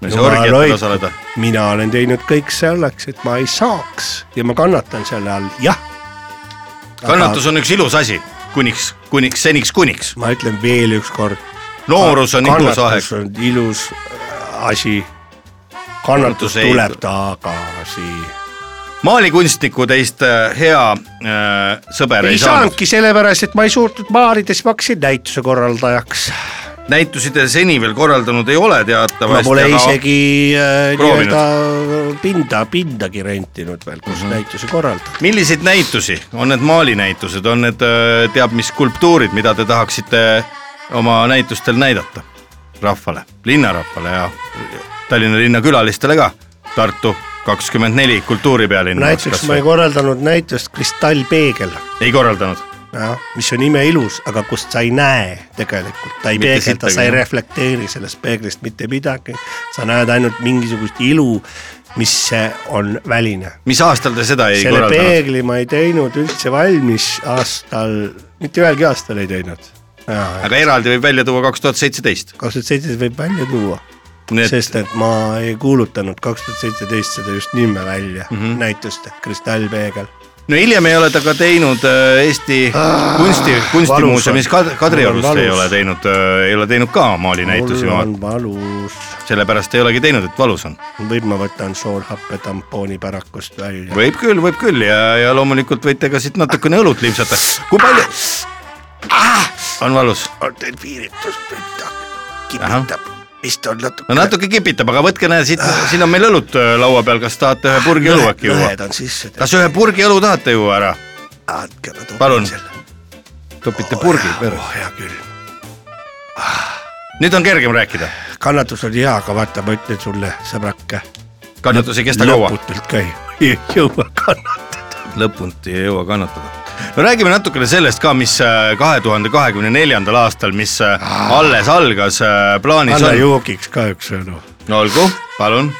Speaker 1: ma ei saa orgiatel osaleda .
Speaker 2: mina olen teinud kõik selleks , et ma ei saaks ja ma kannatan selle all , jah .
Speaker 1: kannatus on üks ilus asi , kuniks , kuniks , seniks kuniks .
Speaker 2: ma ütlen veel ükskord .
Speaker 1: noorus on ilus aeg
Speaker 2: kannatus . on ilus asi . kannatus
Speaker 1: Kannatus ei-
Speaker 2: tuleb tagasi
Speaker 1: maalikunstniku teist äh, hea äh, sõber ei,
Speaker 2: ei
Speaker 1: saanud .
Speaker 2: saanudki , sellepärast et ma ei suutnud maalides , ma hakkasin näituse korraldajaks .
Speaker 1: näitusi te seni veel korraldanud ei ole
Speaker 2: ma
Speaker 1: teatavasti ,
Speaker 2: pole isegi äh,
Speaker 1: proovinud. Mhm.
Speaker 2: nii-öelda pinda , pindagi rentinud veel , kus mm -hmm. näituse korraldada .
Speaker 1: milliseid näitusi , on need maalinäitused , on need äh, teab mis skulptuurid , mida te tahaksite oma näitustel näidata rahvale , linnarahvale ja Tallinna linna külalistele ka , Tartu kakskümmend neli kultuuripealinn .
Speaker 2: näiteks ma ei korraldanud näitust Kristallpeegel ,
Speaker 1: ei korraldanud ,
Speaker 2: mis on imeilus , aga kust sa ei näe tegelikult , ta ei
Speaker 1: Mitte
Speaker 2: peegelda , sa
Speaker 1: sittagi,
Speaker 2: ei
Speaker 1: jah.
Speaker 2: reflekteeri sellest peeglist mitte midagi . sa näed ainult mingisugust ilu , mis äh, on väline
Speaker 1: mis aastal te seda ei
Speaker 2: selle
Speaker 1: korraldanud ?
Speaker 2: peegli ma ei teinud üldse valmis aastal , mitte ühelgi aastal ei teinud . kaks
Speaker 1: aga eraldi võib välja tuua kaks tuhat seitseteist .
Speaker 2: tuhat seitseteist võib välja tuua , sest et ma ei kuulutanud kaks tuhat seitseteist seda just nime välja mm
Speaker 1: Mhm.
Speaker 2: -hmm. näitust , et kristallpeegel .
Speaker 1: no hiljem ei ole ta ka teinud äh, Eesti
Speaker 2: Ah,
Speaker 1: kunsti , kunstimuuseumis
Speaker 2: valus on.
Speaker 1: Kad- Kadriorus
Speaker 2: Mul on
Speaker 1: ei
Speaker 2: valus.
Speaker 1: ole teinud , ei ole teinud ka maalinäitusi
Speaker 2: mul , on
Speaker 1: ma
Speaker 2: valus ,
Speaker 1: sellepärast ei olegi teinud , et valus on .
Speaker 2: võib ma võtan soolhappe tampooni pärakust välja või... .
Speaker 1: võib küll , võib küll ja , ja loomulikult võite ka siit natukene õlut limpsata . kui palju ah! on valus ?
Speaker 2: on teil piiritus ,
Speaker 1: Ahah.
Speaker 2: kipitab , vist on natuke
Speaker 1: no natuke kipitab , aga võtke näe siit , siin on meil õlut äh, laua peal , kas tahate ühe purgi õlu äkki juua ?
Speaker 2: lõhed on sisse ,
Speaker 1: kas ühe purgi õlu tahate juua ära ?
Speaker 2: andke ma topin
Speaker 1: Palun.
Speaker 2: selle .
Speaker 1: topite purgi
Speaker 2: oh,
Speaker 1: peale .
Speaker 2: hea küll
Speaker 1: nüüd on kergem rääkida ,
Speaker 2: kannatus oli hea , aga vaata , ma ütlen sulle , sõbrake .
Speaker 1: kannatus ei kesta kaua .
Speaker 2: lõputult ka ei- ei jõua kannatada .
Speaker 1: lõpuni ei jõua kannatada . no räägime natukene sellest ka , mis äh, kahe tuhande kahekümne neljandal aastal , mis äh,
Speaker 2: Ah.
Speaker 1: alles algas , plaanis
Speaker 2: anna
Speaker 1: on .
Speaker 2: joogiks ka üks sõnu .
Speaker 1: olgu , palun .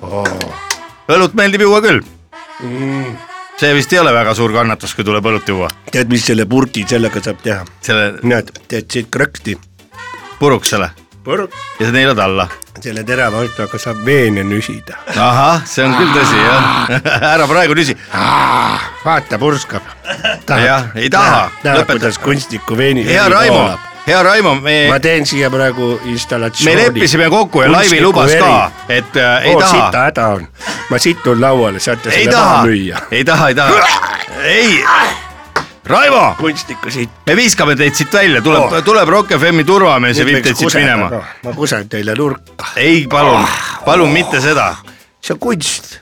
Speaker 1: Oh. õlut meeldib juua küll . see vist ei ole väga suur kannatus, kui tuleb õlut juua.
Speaker 2: tead, mis selle purki sellega saab teha?
Speaker 1: selle
Speaker 2: näed, teed siit krõksti,
Speaker 1: puruks selle ja sa neelad alla.
Speaker 2: selle terava otsaga saab veene nüsida .
Speaker 1: ahah , see on küll tõsi jah , ära praegu nüsi ,
Speaker 2: vaata , purskab .
Speaker 1: Jah, ei taha.
Speaker 2: näed ,
Speaker 1: Lõpeta.
Speaker 2: kuidas kunstniku veeni .
Speaker 1: hea Raimo , hea Raimo , me
Speaker 2: ma teen siia praegu installatsiooni .
Speaker 1: me leppisime kokku ja Laivi lubas ka , et äh, ei
Speaker 2: oo ,
Speaker 1: taha
Speaker 2: Oh, sita , häda on . ma situn lauale , saate
Speaker 1: ei
Speaker 2: selle
Speaker 1: taha
Speaker 2: maha müüa .,
Speaker 1: ei taha , ei taha , ei . Raivo ,
Speaker 2: kunstniku siit .
Speaker 1: me viskame teid siit välja , tuleb oh. , tuleb Rock FM-i turvamees ja viib teid siit minema .
Speaker 2: noh, ma kusen teile nurka ,
Speaker 1: ei , palun , palun mitte seda .
Speaker 2: see on kunst ,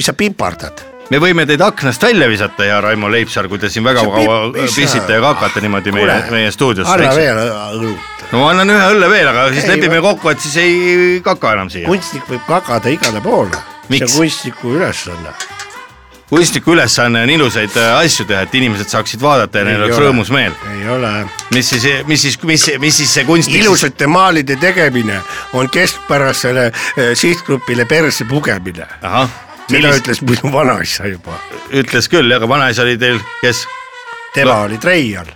Speaker 2: mis sa pipardad .
Speaker 1: me võime teid aknast välja visata , hea Raimo Leipsar , kui te siin väga
Speaker 2: See
Speaker 1: kaua
Speaker 2: pipp- mis sa-
Speaker 1: pissite ja kakate niimoodi meie , meie
Speaker 2: anna
Speaker 1: stuudiosse .
Speaker 2: veel äh, õlut .
Speaker 1: no ma annan ühe õlle veel , aga siis
Speaker 2: Ei,
Speaker 1: lepime kokku , et siis ei kaka enam siia .
Speaker 2: kunstnik võib kagada igale poole , see on
Speaker 1: Miks?
Speaker 2: kunstniku ülesanne .
Speaker 1: kunstniku ülesanne on ilusaid äh, asju teha , et inimesed saaksid vaadata ja neil
Speaker 2: Ei
Speaker 1: oleks
Speaker 2: ole.
Speaker 1: rõõmus meel .
Speaker 2: ei ole .
Speaker 1: mis siis , mis siis , mis , mis siis see kunstnik siis
Speaker 2: ilusate maalide tegemine on keskpärasele eh, sihtgrupile perse pugemine .
Speaker 1: ahah ,
Speaker 2: seda
Speaker 1: millist ,
Speaker 2: ütles minu vanaisa juba ,
Speaker 1: ütles küll , aga vanaisa oli teil , kes
Speaker 2: tema oli treial ,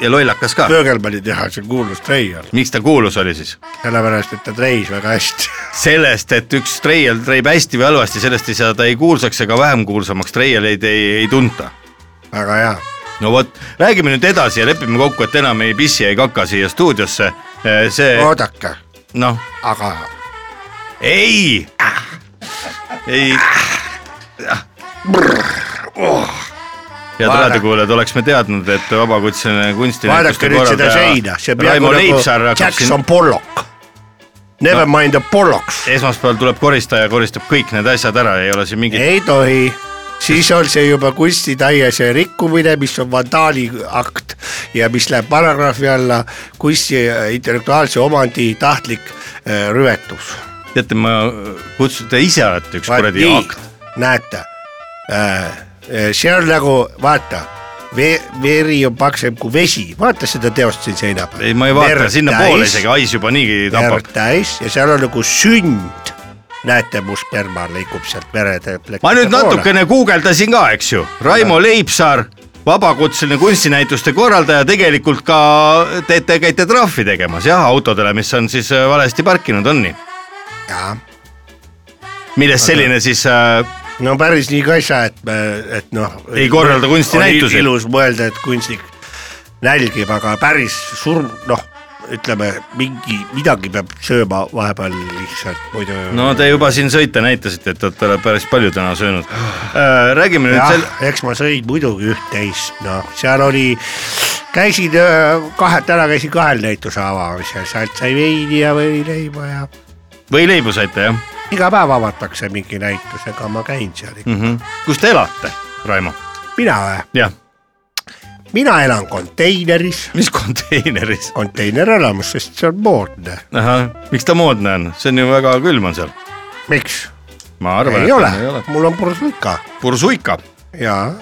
Speaker 1: ja lollakas ka ,
Speaker 2: Pöögelmanni tehase kuulus treial ,
Speaker 1: miks ta kuulus oli siis ?
Speaker 2: sellepärast et ta treis väga hästi .
Speaker 1: sellest , et üks treial treib hästi või halvasti , sellest ei saa ta ei kuulsaks ega vähem kuulsamaks , treialeid ei , ei tunta .
Speaker 2: väga hea ,
Speaker 1: no vot , räägime nüüd edasi ja lepime kokku , et enam ei pissi ei kaka siia stuudiosse . see
Speaker 2: oodake ,
Speaker 1: noh ,
Speaker 2: aga
Speaker 1: ei , ei . head
Speaker 2: Vaadake-
Speaker 1: raadiokuulajad , oleks me teadnud , et vabakutseline
Speaker 2: vaadake
Speaker 1: kunstinäituste
Speaker 2: nüüd seda seina , see on peaaegu
Speaker 1: Raimo Leipsaar
Speaker 2: nagu
Speaker 1: hakkab siin
Speaker 2: Jackson Pollock . Never mind the Pollocks ,
Speaker 1: esmaspäeval tuleb koristaja , koristab kõik need asjad ära , ei ole siin mingit ,
Speaker 2: ei tohi siis on see juba kunstitäie see rikkumine , mis on vandaaliakt ja mis läheb paragrahvi alla kunsti intellektuaalse omandi tahtlik äh, rüvetus .
Speaker 1: teate , ma äh, kutsun , te ise olete üks kuradi akt .
Speaker 2: näete , see on nagu vaata , vee- , veri on paksem kui vesi , vaata seda teost siin seina peal .
Speaker 1: ei , ma ei vaata sinnapoole isegi , hais juba niigi tapab
Speaker 2: verd . täis ja seal on nagu sünd . näete , must sperma liigub sealt verede .
Speaker 1: ma nüüd . natukene guugeldasin ka , eks ju , Raimo Leipsaar , vabakutseline kunstinäituste korraldaja , tegelikult ka teete , käite trahvi tegemas jah , autodele , mis on siis äh, valesti parkinud , on nii ? millest selline siis äh,
Speaker 2: no päris nii ka ei saa , et , et noh .
Speaker 1: Ei korralda kunstinäitusi.
Speaker 2: ilus mõelda , et kunstnik nälgib , aga päris sur- , noh , ütleme mingi , midagi peab sööma vahepeal lihtsalt , muidu .
Speaker 1: no te juba siin sõite näitasite , et olete päris palju täna söönud . räägime nüüd
Speaker 2: jah
Speaker 1: sel- ,,
Speaker 2: eks ma sõin muidugi üht-teist , noh , seal oli , käisin öö, kahe , täna käisin kahel näituse avamisel , sealt sai veini ja võileiba ja
Speaker 1: võileibu saite jah
Speaker 2: iga päev avatakse mingi näitusega , ma käin seal ikka .
Speaker 1: mm -hmm. ? kus te elate , Raimo ?
Speaker 2: mina või ?
Speaker 1: jah ,
Speaker 2: mina elan konteineris ,
Speaker 1: mis konteineris ?
Speaker 2: konteinerelamus , sest see on moodne .
Speaker 1: ahah , miks ta moodne on , see on ju väga külm on seal .
Speaker 2: miks ?
Speaker 1: ma arvan ,
Speaker 2: ei ole , mul on bursuika
Speaker 1: Bursuika .
Speaker 2: ja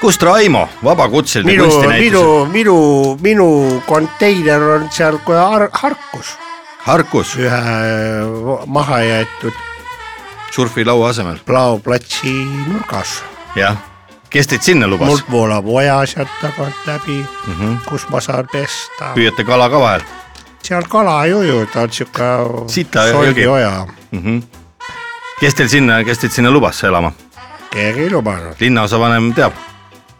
Speaker 1: kust Raimo , vabakutseline
Speaker 2: minu ,
Speaker 1: kunstinäitus ,
Speaker 2: minu , minu , minu konteiner on seal kui har- Harkus ,
Speaker 1: Harkus ,
Speaker 2: ühe äh, mahajäetud
Speaker 1: surfilaua asemel ,
Speaker 2: laoplatsi nurgas .
Speaker 1: jah . kes teid sinna lubas
Speaker 2: mult ? voolab oja sealt tagant läbi mm , -hmm. kus ma saan pesta .
Speaker 1: püüate kala ka vahel
Speaker 2: seal kala ei uju , ta on sihuke
Speaker 1: Sita jõgi.
Speaker 2: solgioja ,
Speaker 1: mm ? -hmm. kes teil sinna , kes teid sinna lubas elama ?
Speaker 2: keegi ei lubanud ,
Speaker 1: linnaosavanem teab ,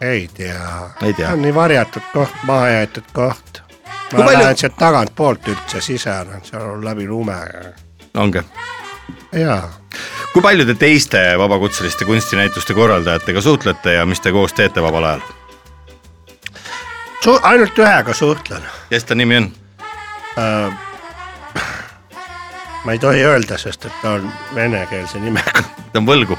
Speaker 2: ei tea .
Speaker 1: Ei tea.
Speaker 2: on nii varjatud koht , mahajäetud koht .
Speaker 1: Kui
Speaker 2: ma
Speaker 1: palju-
Speaker 2: lähen sealt tagantpoolt üldse sisene , seal on läbi lume
Speaker 1: ongi
Speaker 2: ja
Speaker 1: kui palju te teiste vabakutseliste kunstinäituste korraldajatega suhtlete ja mis te koos teete vabal ajal ?
Speaker 2: Su ainult ühega suhtlen ,
Speaker 1: kes ta nimi on ?
Speaker 2: ma ei tohi öelda , sest et ta on venekeelse nimega ,
Speaker 1: ta on võlgu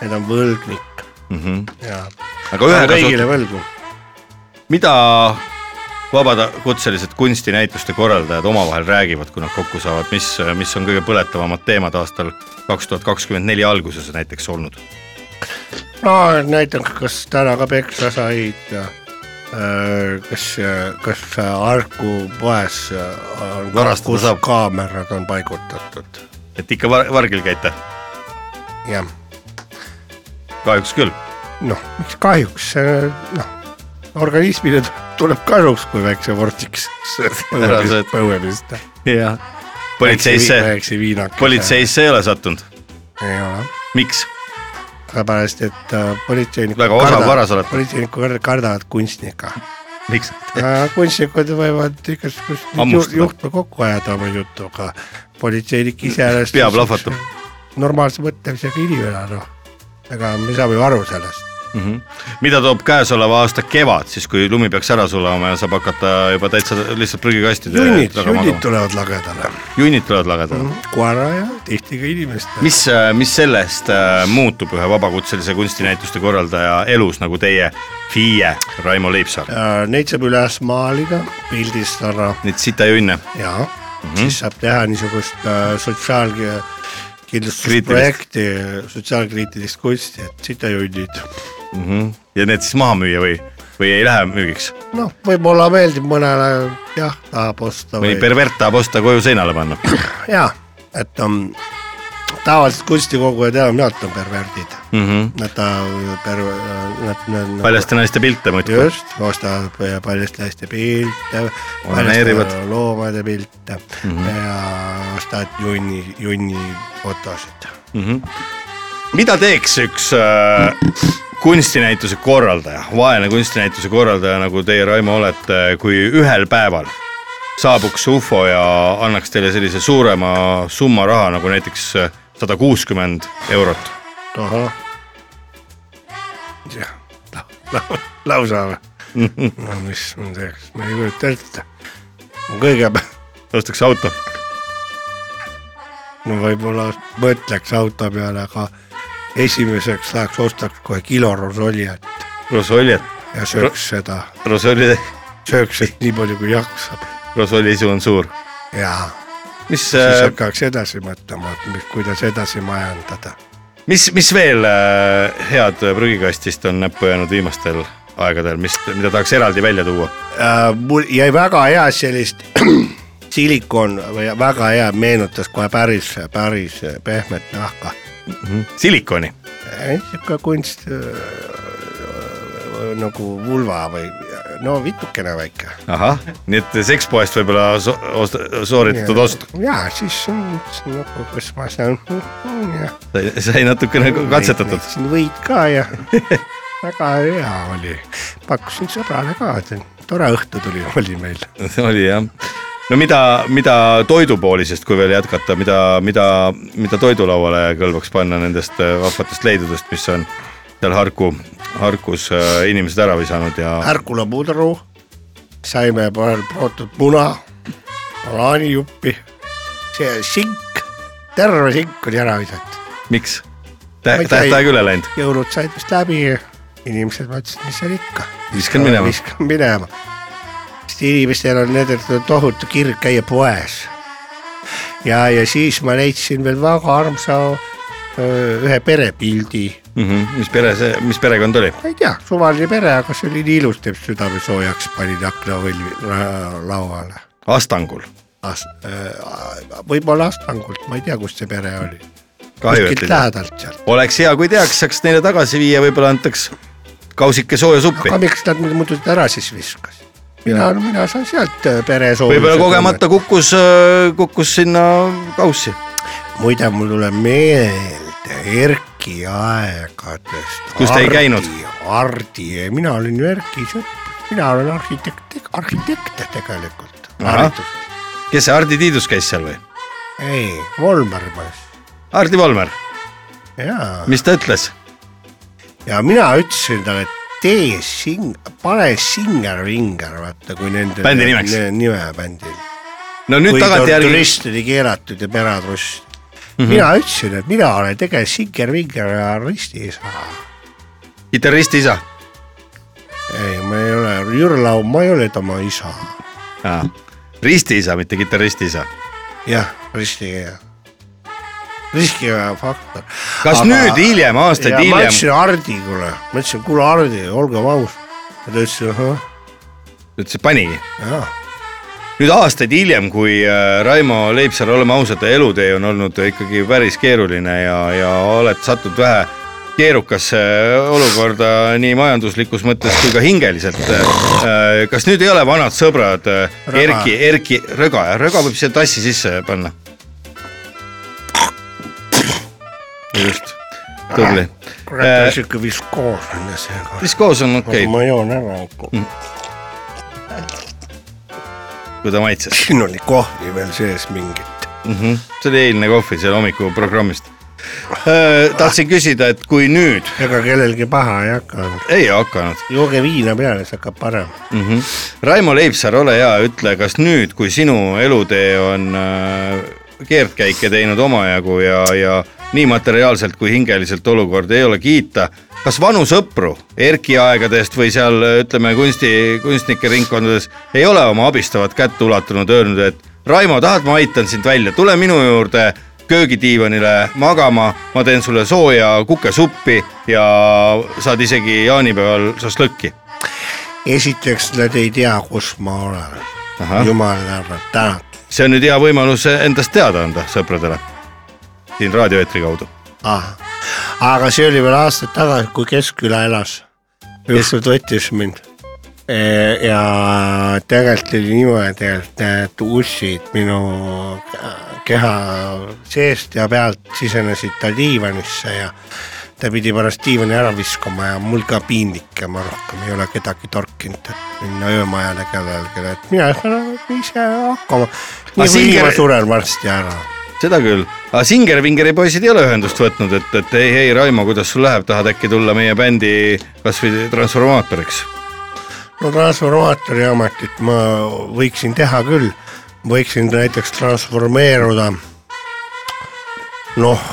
Speaker 2: ta on võlgnik
Speaker 1: mm . -hmm.
Speaker 2: ja
Speaker 1: aga
Speaker 2: ta on
Speaker 1: ühega
Speaker 2: kõigile
Speaker 1: suht- ,
Speaker 2: võlgu .
Speaker 1: mida vabakutselised kunstinäituste korraldajad omavahel räägivad , kui nad kokku saavad , mis , mis on kõige põletavamad teemad aastal kaks tuhat kakskümmend neli alguses näiteks olnud ?
Speaker 2: no näiteks , kas täna ka peksa said ja öö, kas , kas Harku poes öö, on
Speaker 1: Varastada
Speaker 2: kus
Speaker 1: saab.
Speaker 2: kaamerad on paigutatud ,
Speaker 1: et ikka var vargil käite ,
Speaker 2: jah .
Speaker 1: kahjuks küll .
Speaker 2: noh, miks kahjuks, noh, organismile tuleb kasuks, kui väikse vorstiks
Speaker 1: Ära sööd.
Speaker 2: põue pista . jah .
Speaker 1: politseisse ,
Speaker 2: väikse viinakese .
Speaker 1: politseisse ei ole sattunud ,
Speaker 2: ei ole
Speaker 1: miks ?
Speaker 2: sellepärast , et äh, politseinikud .
Speaker 1: Väga osav varas olete.
Speaker 2: politseinikud kard- kardavad kunstnikke .
Speaker 1: miks ?
Speaker 2: kunstnikud võivad igasugust
Speaker 1: Hammustada.
Speaker 2: ju- juhtme kokku ajada oma jutuga . politseinik iseenesest .
Speaker 1: Pea plahvatab. .
Speaker 2: normaalse mõtlemisega inimene , noh . ega me saame ju aru sellest .
Speaker 1: mida toob käesoleva aasta kevad , siis kui lumi peaks ära sulama ja saab hakata juba täitsa lihtsalt prügikastide
Speaker 2: junnid ,
Speaker 1: taga
Speaker 2: junnid
Speaker 1: magama ?
Speaker 2: tulevad lagedale .
Speaker 1: junnid tulevad lagedale .
Speaker 2: koera ja tihti ka inimestele .
Speaker 1: mis , mis sellest äh, muutub ühe vabakutselise kunstinäituste korraldaja elus nagu teie FIE Raimo Leipsaar ?
Speaker 2: Neid saab üles maalida , pildistada
Speaker 1: Neid sitajunne ,
Speaker 2: ja mm -hmm. siis saab teha niisugust äh, sotsiaalkindlustusprojekti , sotsiaalkriitilist kunsti , et sitajunnid .
Speaker 1: Mhm. ja need siis maha müüa või , või ei lähe müügiks ?
Speaker 2: noh , võib-olla meeldib mõnele , jah , tahab osta
Speaker 1: mõni
Speaker 2: või
Speaker 1: pervert tahab osta koju seinale panna .
Speaker 2: ja , et um, on tavaliselt kunstikogujad enamjaolt on perverdid mm . -hmm. Nad tahavad perver- , nad , nad .
Speaker 1: paljaste naiste pilte muidugi .
Speaker 2: just , ostab paljaste naiste pilte ,
Speaker 1: Onaneerivad.
Speaker 2: loomade pilte mm -hmm. ja ostad junni , junni fotosid .
Speaker 1: mida teeks üks äh, kunstinäituse korraldaja , vaene kunstinäituse korraldaja , nagu teie , Raimo , olete , kui ühel päeval saabuks ufo ja annaks teile sellise suurema summa raha , nagu näiteks sada kuuskümmend eurot ,
Speaker 2: ahah . jah , lausa või ? no mis ma teeks , ma ei kujuta ette . kõigepealt ,
Speaker 1: ostaks auto ,
Speaker 2: no võib-olla mõtleks auto peale , aga esimeseks läheks , ostaks kohe kilo rosoljet
Speaker 1: rosoljet ,
Speaker 2: ja sööks seda ,
Speaker 1: rosoli ,
Speaker 2: sööks , et nii palju kui jaksab
Speaker 1: rosoli isu on suur .
Speaker 2: ja
Speaker 1: mis , äh,
Speaker 2: siis hakkaks edasi mõtlema , et mis- kuidas edasi majandada .
Speaker 1: mis , mis veel äh, head prügikastist on näppu jäänud viimastel aegadel , mis , mida tahaks eraldi välja tuua ?
Speaker 2: Äh, mul jäi väga hea sellist silikon või väga hea , meenutas kohe päris , päris pehmet nahka .
Speaker 1: silikoni ,
Speaker 2: niisugune kunst äh, nagu vulva või no vitukene väike .
Speaker 1: ahah , nii et sekspoest võib-olla so ost- sooritatud ost .
Speaker 2: ja siis on siis nagu , kas ma saan , jah .
Speaker 1: sai , sai natukene katsetatud .
Speaker 2: võid ka ja väga hea oli , pakkusin sõbrale ka , tore õhtu tuli , oli meil .
Speaker 1: oli jah . no mida , mida toidupoolisest , kui veel jätkata , mida , mida , mida toidulauale kõlbaks panna nendest äh, vahvatest leidudest , mis on seal Harku , Harkus äh, inimesed ära visanud ja
Speaker 2: Härkula pudru , saime paar prootud muna , banaanijuppi , see sink , terve sink oli ära visatud .
Speaker 1: miks ?
Speaker 2: Ma ei tea,
Speaker 1: tähtaeg
Speaker 2: ei-
Speaker 1: üle läinud ,
Speaker 2: jõulud said vist läbi , inimesed mõtlesid , mis seal ikka .
Speaker 1: viskan minema .
Speaker 2: viskan minema . sest inimestel on nendel tohutu kirg käia poes . ja , ja siis ma leidsin veel väga armsa öö, ühe perepildi
Speaker 1: Mhm, mis pere see , mis perekond oli ?
Speaker 2: ma ei tea , suvaline pere , aga see oli nii ilus , teeb südame soojaks , panin aknavõlvi ra- lauale .
Speaker 1: Astangul .
Speaker 2: As- , äh, võib-olla Astangult , ma ei tea , kust see pere oli .
Speaker 1: kahju , et
Speaker 2: kuskilt
Speaker 1: Mm. ei tea .
Speaker 2: lähedalt seal .
Speaker 1: oleks hea , kui teaks , saaks neile tagasi viia , võib-olla antaks kausike sooja suppi
Speaker 2: aga . miks nad mind muidu ära siis viskas ? mina , mina saan sealt äh, pere soojuse .
Speaker 1: võib-olla kogemata . kukkus , kukkus sinna kaussi .
Speaker 2: muide , mul tuleb meelde Erki aegadest .
Speaker 1: Kus te ei käinud? ?
Speaker 2: Hardi , mina olin ju Erki sõpp , mina olen arhitekt , arhitekt tegelikult .
Speaker 1: Ahah. kes see Hardi Tiidus käis seal või ?
Speaker 2: ei , Volmer poiss .
Speaker 1: Hardi Volmer ,
Speaker 2: jaa ,
Speaker 1: mis ta ütles ?
Speaker 2: ja mina ütlesin talle , tee sing- , pane Singer Vinger , vaata kui nende
Speaker 1: Bändi nimeks.
Speaker 2: nime bändil .
Speaker 1: no nüüd
Speaker 2: kui
Speaker 1: tagantjärgi , Mhm.
Speaker 2: turist oli keelatud ja peratruss mm . -hmm. mina ütlesin , et mina olen tegelikult Singer Vinger ja risti isa .
Speaker 1: kitarristi isa .
Speaker 2: ei , ma ei ole , Jürlau , ma ei ole tema isa .
Speaker 1: risti isa , mitte kitarristi isa .
Speaker 2: jah , risti , riski faktor .
Speaker 1: kas aga... nüüd hiljem , aastaid
Speaker 2: ja ma
Speaker 1: hiljem
Speaker 2: ütlesin Hardi , kuule , ma ütlesin , kuule Hardi , olge aus . ja ta ütles , ahah ,
Speaker 1: ütles , et panigi ?
Speaker 2: jaa
Speaker 1: nüüd aastaid hiljem , kui äh, Raimo Leipsar , oleme ausad , elutee on olnud ikkagi päris keeruline ja , ja oled sattunud vähe keerukasse äh, olukorda nii majanduslikus mõttes kui ka hingeliselt. äh, kas nüüd ei ole vanad sõbrad rõga. Erki, Erki, rõga, rõga võib siia tassi sisse panna. just, tubli. Äh,
Speaker 2: kurat, sihuke viskoos on ja see.
Speaker 1: viskoos on okei okay..
Speaker 2: ma joon ära ikka
Speaker 1: kui ta maitses.
Speaker 2: siin oli kohvi veel sees mingit
Speaker 1: mm. -hmm. see oli eilne kohvi seal hommikuprogrammist. tahtsin küsida, et kui nüüd.
Speaker 2: ega kellelgi paha ei hakanud.
Speaker 1: ei hakanud.
Speaker 2: jooge viina peale, siis hakkab parem
Speaker 1: mm. -hmm. Raimo Leipsaar, ole hea, ütle, kas nüüd, kui sinu elutee on äh, keerdkäike teinud omajagu ja, ja nii materiaalselt kui hingeliselt olukord ei ole kiita kas vanu sõpru Erki aegadest või seal ütleme kunsti, kunstnike ringkondades ei ole oma abistavat kätt ulatanud, öelnud, et Raimo, tahad, ma aitan sind välja, tule minu juurde köögidiivanile magama, ma teen sulle sooja kukesuppi ja saad isegi jaanipäeval šašlõkki.
Speaker 2: esiteks nad ei tea, kus ma olen. jumala tänatud.
Speaker 1: see on nüüd hea võimalus eh, endast teada anda sõpradele siin raadioeetri kaudu
Speaker 2: ah.. aga see oli veel aastaid tagasi, kui Keskküla elas. ükskord võttis mind. E, ja tegelikult oli niimoodi, et need ussid minu keha seest ja pealt sisenesid ta diivanisse ja ta pidi pärast diivani ära viskama ja mul ka piinlik ja ma rohkem ei ole kedagi torkinud, et minna öömajale kellelgi, et mina saan ise hakkama. nii kui ma suren varsti ära
Speaker 1: seda küll, aga Singer-Vingeri poisid ei ole ühendust võtnud, et, et ei, ei Raimo, kuidas sul läheb, tahad äkki tulla meie bändi kasvõi transformaatoriks?
Speaker 2: no transformaatori ametit ma võiksin teha küll, võiksin näiteks transformeeruda noh,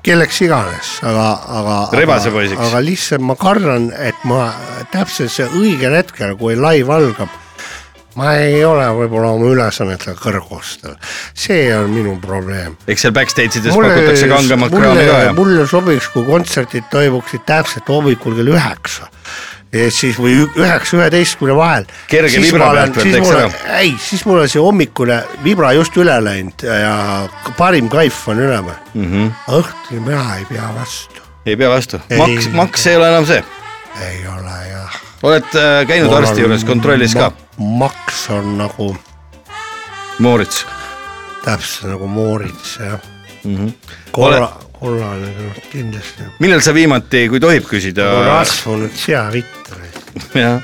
Speaker 2: kelleks iganes, aga, aga.
Speaker 1: rebase poisiks.
Speaker 2: aga lihtsalt ma kardan, et ma täpselt see õigel hetkel, kui laiv algab ma ei ole võib-olla oma ülesannetega kõrgustel, see on minu probleem.
Speaker 1: eks seal backstage ides pakutakse kangemat kraami ka
Speaker 2: ja. mulle sobiks, kui kontserdid toimuksid täpselt hommikul kell üheksa. et siis või üheksa, üheteistkümne vahel.
Speaker 1: kerge vibra pealt võetakse ära.
Speaker 2: ei, siis mul on see hommikune vibra just üle läinud ja parim kaif on üleval mm.
Speaker 1: Mhm.
Speaker 2: -hmm. õhtul mina ei pea vastu.
Speaker 1: ei pea vastu, maks, maks ei ole enam see.
Speaker 2: ei ole jah
Speaker 1: oled äh, käinud Olen arsti juures kontrollis ka?
Speaker 2: maks on nagu.
Speaker 1: moorits.
Speaker 2: täpselt nagu moorits jah mm
Speaker 1: Mhm.
Speaker 2: -hmm.. korra, korraline kindlasti.
Speaker 1: millal sa viimati, kui tohib küsida?
Speaker 2: rasvunud seavitreid.
Speaker 1: jah,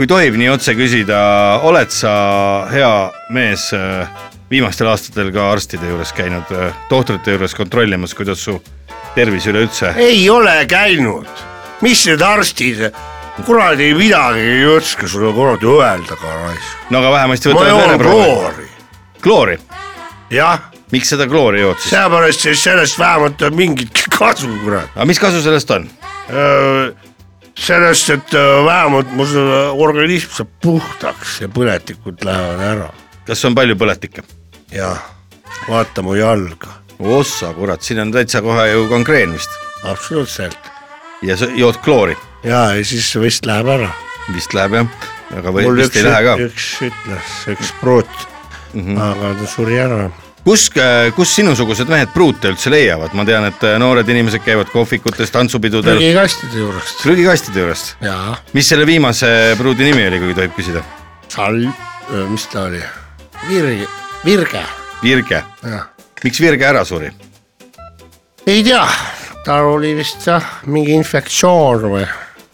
Speaker 1: kui tohib nii otse küsida, oled sa hea mees viimastel aastatel ka arstide juures käinud, tohtrite juures kontrollimas, kuidas su tervis üleüldse?
Speaker 2: ei ole käinud, mis need arstid kuradi midagi ei oska sulle kuradi öelda ka raisk.
Speaker 1: no aga vähemasti
Speaker 2: võtame vereproovi.
Speaker 1: kloori?
Speaker 2: jah.
Speaker 1: miks seda kloori jood siis?
Speaker 2: sellepärast, et sellest vähemalt on mingit kasu kurat. Äh,
Speaker 1: aga mis kasu sellest on?
Speaker 2: sellest, et äh, vähemalt mu organism saab puhtaks ja põletikud lähevad ära.
Speaker 1: kas on palju põletikke?
Speaker 2: jah, vaata mu jalga.
Speaker 1: ossa kurat, siin on täitsa kohe ju konkreen vist.
Speaker 2: absoluutselt.
Speaker 1: ja sa jood kloori?
Speaker 2: ja, ja siis vist läheb ära.
Speaker 1: vist läheb jah, aga või, vist ei lähe ka. Mhm.
Speaker 2: üks ütles, üks pruut mm, -hmm. aga ta suri ära.
Speaker 1: kus, äh, kus sinusugused mehed pruute üldse leiavad, ma tean, et äh, noored inimesed käivad kohvikutes, tantsupidudel.
Speaker 2: prügikastide juurest.
Speaker 1: prügikastide juurest? mis selle viimase pruudi nimi oli, kui tohib küsida?
Speaker 2: Sal-, mis ta oli? Virge, Virge.
Speaker 1: Virge? miks Virge ära suri?
Speaker 2: ei tea, tal oli vist jah, mingi infektsioon või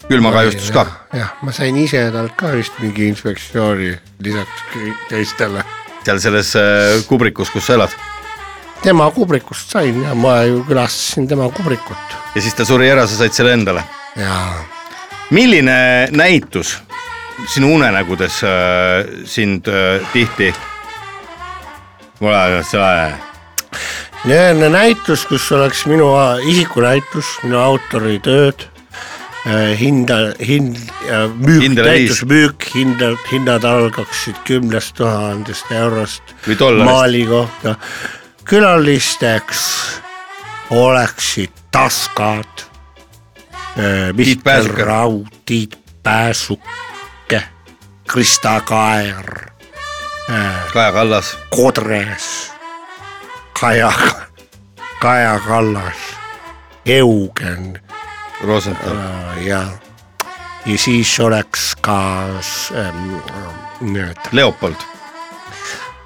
Speaker 1: külmakahjustus ka.
Speaker 2: jah, ma sain ise talt ka vist mingi infektsiooni lisaks teistele.
Speaker 1: seal selles äh, kubrikus, kus sa elad?
Speaker 2: tema kubrikust sain ja ma ju külastasin tema kubrikut.
Speaker 1: ja siis ta suri ära, sa said selle endale?
Speaker 2: jaa.
Speaker 1: milline näitus sinu unenägudes äh, sind äh, tihti? mul on see
Speaker 2: niisugune näitus, kus oleks minu isikunäitus, minu autoritööd hinda, hind, äh, müük, näitus müük, hindad, hinnad algaksid kümnest tuhandest eurost maali kohta. külalisteks oleksid taskad, Mihkel Raud, Tiit Pääsuke, Krista Kaer.
Speaker 1: Kaja Kallas.
Speaker 2: Kodres, Kaja, Kaja Kallas, Eugen
Speaker 1: Rosenthal
Speaker 2: Äh. ja, ja siis oleks ka ähm, need
Speaker 1: Leopold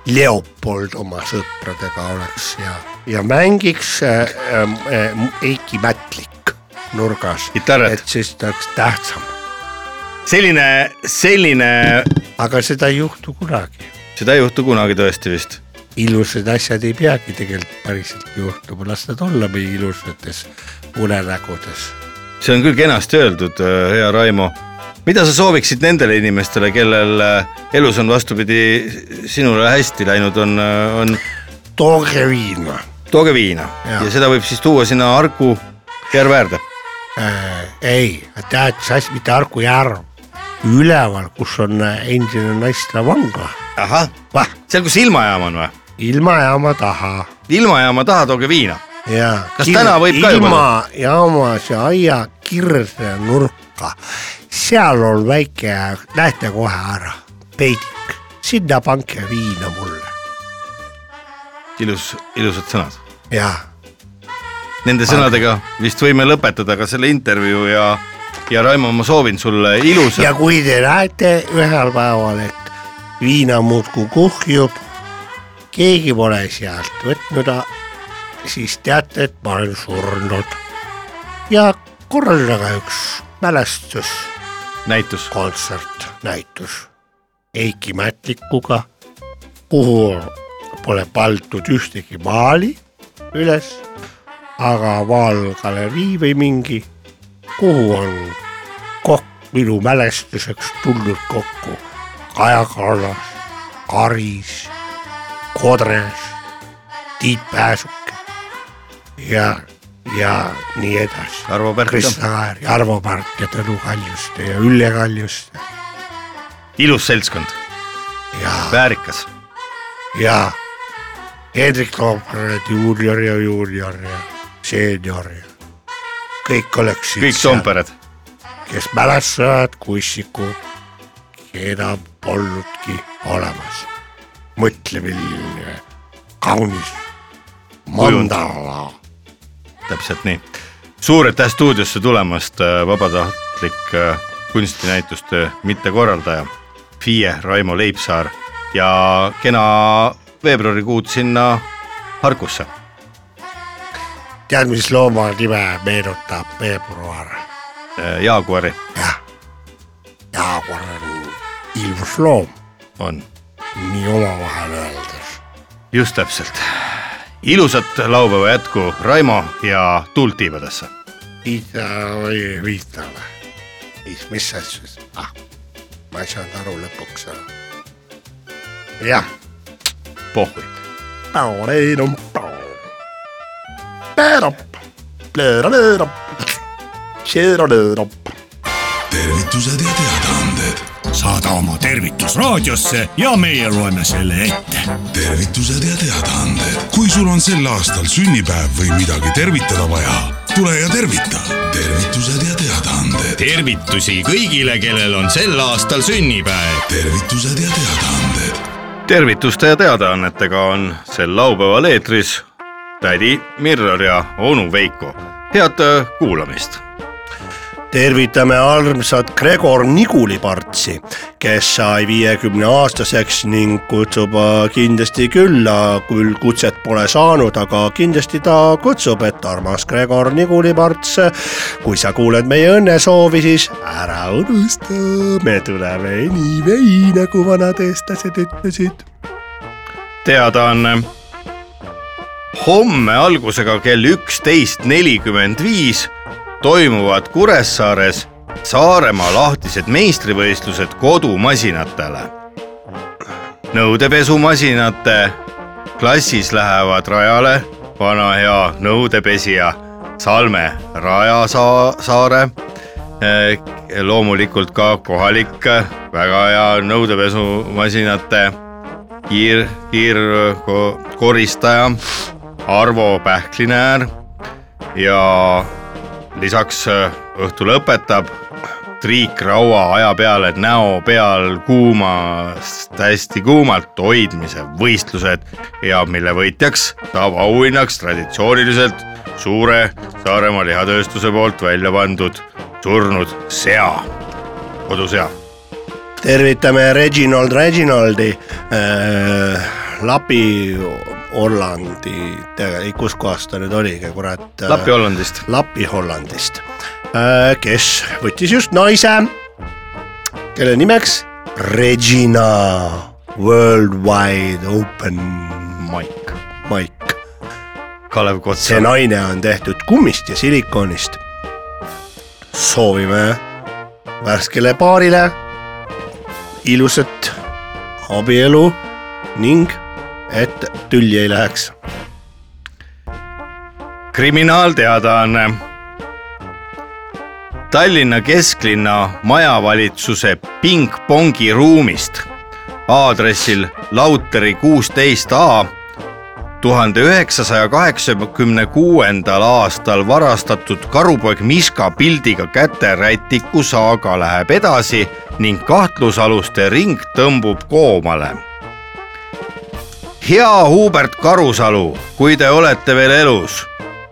Speaker 2: Leopold oma sõpradega oleks ja, ja mängiks äh, äh, Eiki Mätlik nurgas.
Speaker 1: Kitarrat.
Speaker 2: et siis ta oleks tähtsam,
Speaker 1: selline selline
Speaker 2: aga seda ei juhtu kunagi.
Speaker 1: seda ei juhtu kunagi tõesti vist
Speaker 2: ilusad asjad ei peagi tegelikult päriselt juhtuma, las nad olla meie ilusates unenägudes.
Speaker 1: see on küll kenasti öeldud äh,, hea Raimo mida sa sooviksid nendele inimestele, kellel äh, elus on vastupidi sinule hästi läinud, on, äh, on?
Speaker 2: tooge viina.
Speaker 1: tooge viina ja. ja seda võib siis tuua sinna Harku järve äärde
Speaker 2: äh,. ei, tead, mis asi, mitte Harku järv, üleval, kus on äh, endine naiste vangla.
Speaker 1: ahah, seal, kus ilmajaam on või?
Speaker 2: ilmajaama taha.
Speaker 1: ilmajaama taha tooge viina. kas täna võib ka juba?
Speaker 2: ilmajaamas ja aia kirde nurka seal on väike, näete kohe ära, peidik, sinna pange viina mulle.
Speaker 1: ilus, ilusad sõnad.
Speaker 2: jah.
Speaker 1: Nende sõnadega vist võime lõpetada ka selle intervjuu ja, ja Raimo, ma soovin sulle ilusat.
Speaker 2: ja kui te näete ühel päeval, et viina muudkui kuhjub, keegi pole sealt võtnud, siis teate, et ma olen surnud. ja korraldage üks mälestus
Speaker 1: näitus.
Speaker 2: kontsert, näitus Eiki Mätlikuga, kuhu pole pandud ühtegi maali üles, aga vaalgalerii või mingi, kuhu on kokk minu mälestuseks tulnud kokku Kaja Kallas, Karis, Kodres, Tiit Pääsuke ja ja nii edasi.
Speaker 1: Arvo Pärt.
Speaker 2: Krista Kaer ja Arvo Pärt ja Tõnu Kaljuste ja Ülle Kaljuste.
Speaker 1: ilus seltskond. väärikas.
Speaker 2: ja Hendrik Toompered juunior ja juunior ja seenior ja kõik oleksid.
Speaker 1: kõik Toompered.
Speaker 2: kes mälestavad Kussiku, keda polnudki olemas. mõtle, milline kaunis mandala
Speaker 1: täpselt nii. suur aitäh stuudiosse tulemast, äh, vabatahtlik kunstinäituste mittekorraldaja, FIE Raimo Leipsaar ja kena veebruarikuud sinna Harkusse.
Speaker 2: tead, mis looma nime meenutab veebruar?
Speaker 1: Äh, jaaguari.
Speaker 2: jah, jaaguar on ilus loom.
Speaker 1: on.
Speaker 2: nii omavahel öeldes.
Speaker 1: just täpselt ilusat laupäeva jätku, Raimo ja tuult tiibadesse.
Speaker 2: Ida või Viitale. mis asja siis, ah, ma ei saanud aru lõpuks ära. jah.
Speaker 1: pohhui.
Speaker 3: tervitused ja teadaanded ,
Speaker 5: saada oma tervitus raadiosse ja meie loeme selle ette
Speaker 3: tervitused ja teadaanded . kui sul on sel aastal sünnipäev või midagi tervitada vaja , tule ja tervita . tervitused ja teadaanded ,
Speaker 5: tervitusi kõigile , kellel on sel aastal sünnipäev .
Speaker 3: tervitused ja teadaanded .
Speaker 1: tervituste ja teadaannetega on sel laupäeval eetris tädi Mirror ja onu Veiko. head äh, kuulamist
Speaker 6: tervitame armsat Gregor Niguli-Partsi , kes sai viiekümne aastaseks ning kutsub äh, kindlasti külla , küll kutset pole saanud , aga kindlasti ta kutsub , et armas Gregor Niguli-Parts , kui sa kuuled meie õnnesoovi , siis ära unusta , me tuleme nii või nagu vanad eestlased ütlesid .
Speaker 1: teadaanne . eh, homme algusega kell üksteist nelikümmend viis toimuvad Kuressaares Saaremaa lahtised meistrivõistlused kodumasinatele . nõudepesumasinate klassis lähevad rajale vana hea nõudepesija Salme Rajasaare , loomulikult ka kohalik eh, väga hea nõudepesumasinate kiir , kiirkoristaja Arvo Pähklinäär ja lisaks õhtu äh, lõpetab triikraua aja peale näo peal kuumast hästi kuumalt hoidmise võistlused ja mille võitjaks saab auhinnaks traditsiooniliselt suure Saaremaa lihatööstuse poolt välja pandud surnud sea, kodusea.
Speaker 2: tervitame Reginald Reginaldi äh, Lapi Hollandi, kus kohas ta nüüd oligi, kurat. äh,
Speaker 1: Lapi Hollandist.
Speaker 2: Lapi Hollandist, Äh, kes võttis just naise, kelle nimeks Regina Worldwide Open
Speaker 1: Mike.
Speaker 2: Mike.
Speaker 1: Kalev Kots.
Speaker 2: see naine on tehtud kummist ja silikonist. soovime värskele paarile ilusat abielu ning et tülli ei läheks.
Speaker 1: kriminaalteadaanne. Tallinna kesklinna majavalitsuse pingpongi ruumist aadressil Lauteri kuusteist A tuhande üheksasaja kaheksakümne kuuendal aastal varastatud karupoeg Miska pildiga käterätiku saaga läheb edasi ning kahtlusaluste ring tõmbub koomale hea Hubert Karusalu, kui te olete veel elus,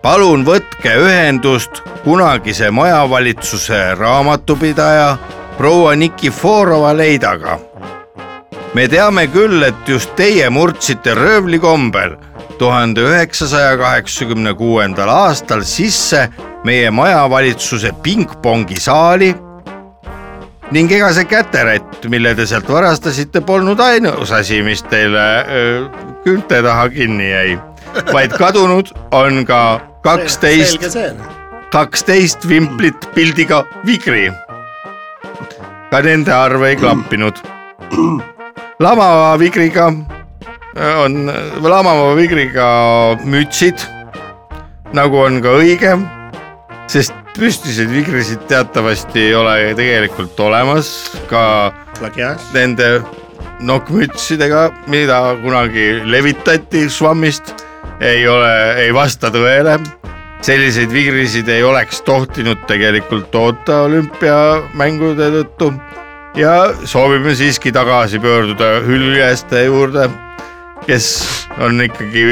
Speaker 1: palun võtke ühendust kunagise majavalitsuse raamatupidaja proua Nikiforova leidaga. me teame küll, et just teie murdsite röövli kombel tuhande üheksasaja kaheksakümne kuuendal aastal sisse meie majavalitsuse pingpongi saali ning ega see käterätt, mille te sealt varastasite, polnud ainus asi, mis teile öö, küünte taha kinni jäi, vaid kadunud on ka kaksteist, kaksteist vimplit pildiga vigri. ka nende arv ei klappinud. lamava vigriga äh, on, lamava vigriga mütsid, nagu on ka õige, sest püstiseid vigrisid teatavasti ei ole tegelikult olemas ka
Speaker 2: Plagiaas.
Speaker 1: nende nokkmütsidega, mida kunagi levitati švammist, ei ole, ei vasta tõele. selliseid vigrisid ei oleks tohtinud tegelikult oota olümpiamängude tõttu ja soovime siiski tagasi pöörduda hüljeste juurde, kes on ikkagi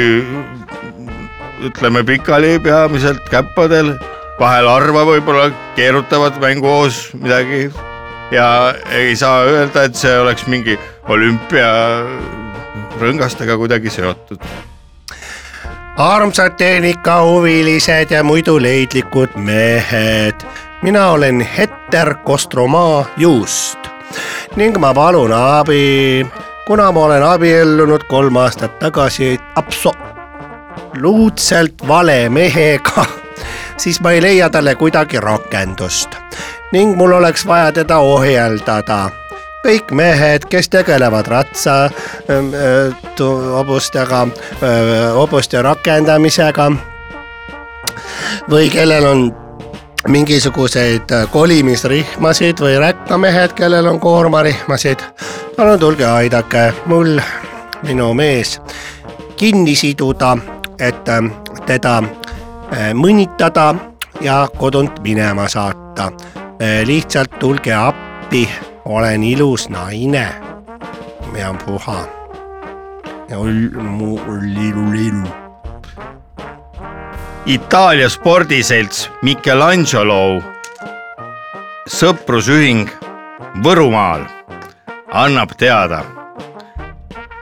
Speaker 1: ütleme pikali peamiselt käppadel vahel harva võib-olla keerutavad mänguhoos midagi ja ei saa öelda, et see oleks mingi olümpiarõngastega kuidagi seotud.
Speaker 2: armsad tehnikahuvilised ja muidu leidlikud mehed, mina olen Heter Kostromaa Juust ning ma palun abi, kuna ma olen abiellunud kolm aastat tagasi absoluutselt vale mehega siis ma ei leia talle kuidagi rakendust ning mul oleks vaja teda ohjeldada. kõik mehed, kes tegelevad ratsa ähm, äh, hobustega, äh, hobuste rakendamisega või kellel on mingisuguseid äh, kolimisrihmasid või räkkamehed, kellel on koormarihmasid, palun tulge aidake mul, minu mees kinni siduda, et ähm, teda äh, mõnitada ja kodunt minema saata. Äh, lihtsalt tulge appi, olen ilus naine. ja puha. ja mu liilu liilu.
Speaker 1: Itaalia spordiselts Michelangelo sõprusühing Võrumaal annab teada.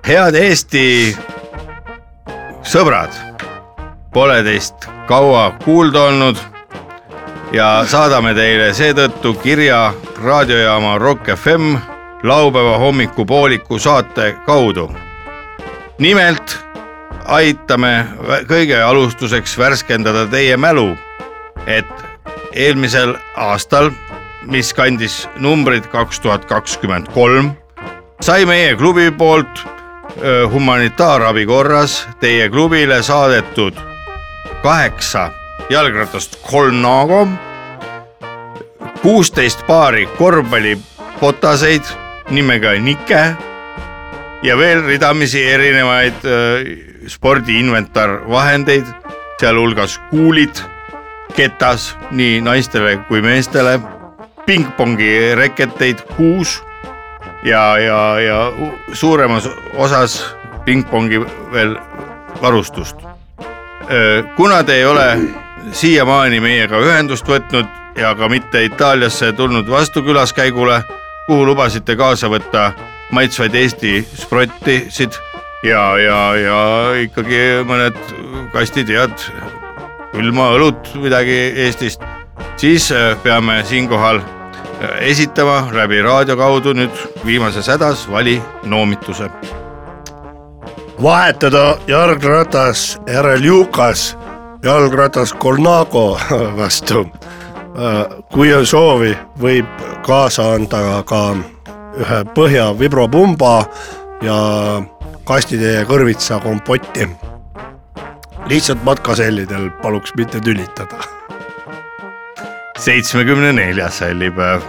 Speaker 1: head Eesti sõbrad pole teist kaua kuulda olnud ja saadame teile seetõttu kirja raadiojaama Rock FM laupäeva hommikupooliku saate kaudu. nimelt aitame kõige alustuseks värskendada teie mälu, et eelmisel aastal, mis kandis numbrit kaks tuhat kakskümmend kolm, sai meie klubi poolt humanitaarabi korras teie klubile saadetud kaheksa jalgratast kolm naago, kuusteist paari korvpallipotaseid nimega Nike ja veel ridamisi erinevaid äh, spordiinventarvahendeid, sealhulgas kuulid ketas nii naistele kui meestele pingpongi reketeid kuus ja, ja, ja suuremas osas pingpongi veel varustust. Äh, kuna te ei ole siiamaani meiega ühendust võtnud ja ka mitte Itaaliasse tulnud vastukülaskäigule, kuhu lubasite kaasa võtta maitsvaid Eesti sprottisid ja, ja, ja ikkagi mõned kastid head külma õlut midagi Eestist, siis äh, peame siinkohal äh, esitama läbi raadio kaudu nüüd viimases hädas vali noomituse.
Speaker 2: vahetada jalgratas järel Jukas jalgratas Kolnago vastu. Äh, kui on soovi, võib kaasa anda ka ühe põhja vibropumba ja kastitäie kõrvitsa kompotti. lihtsalt matkasellidel paluks mitte tülitada.
Speaker 1: seitsmekümne neljas sallipäev.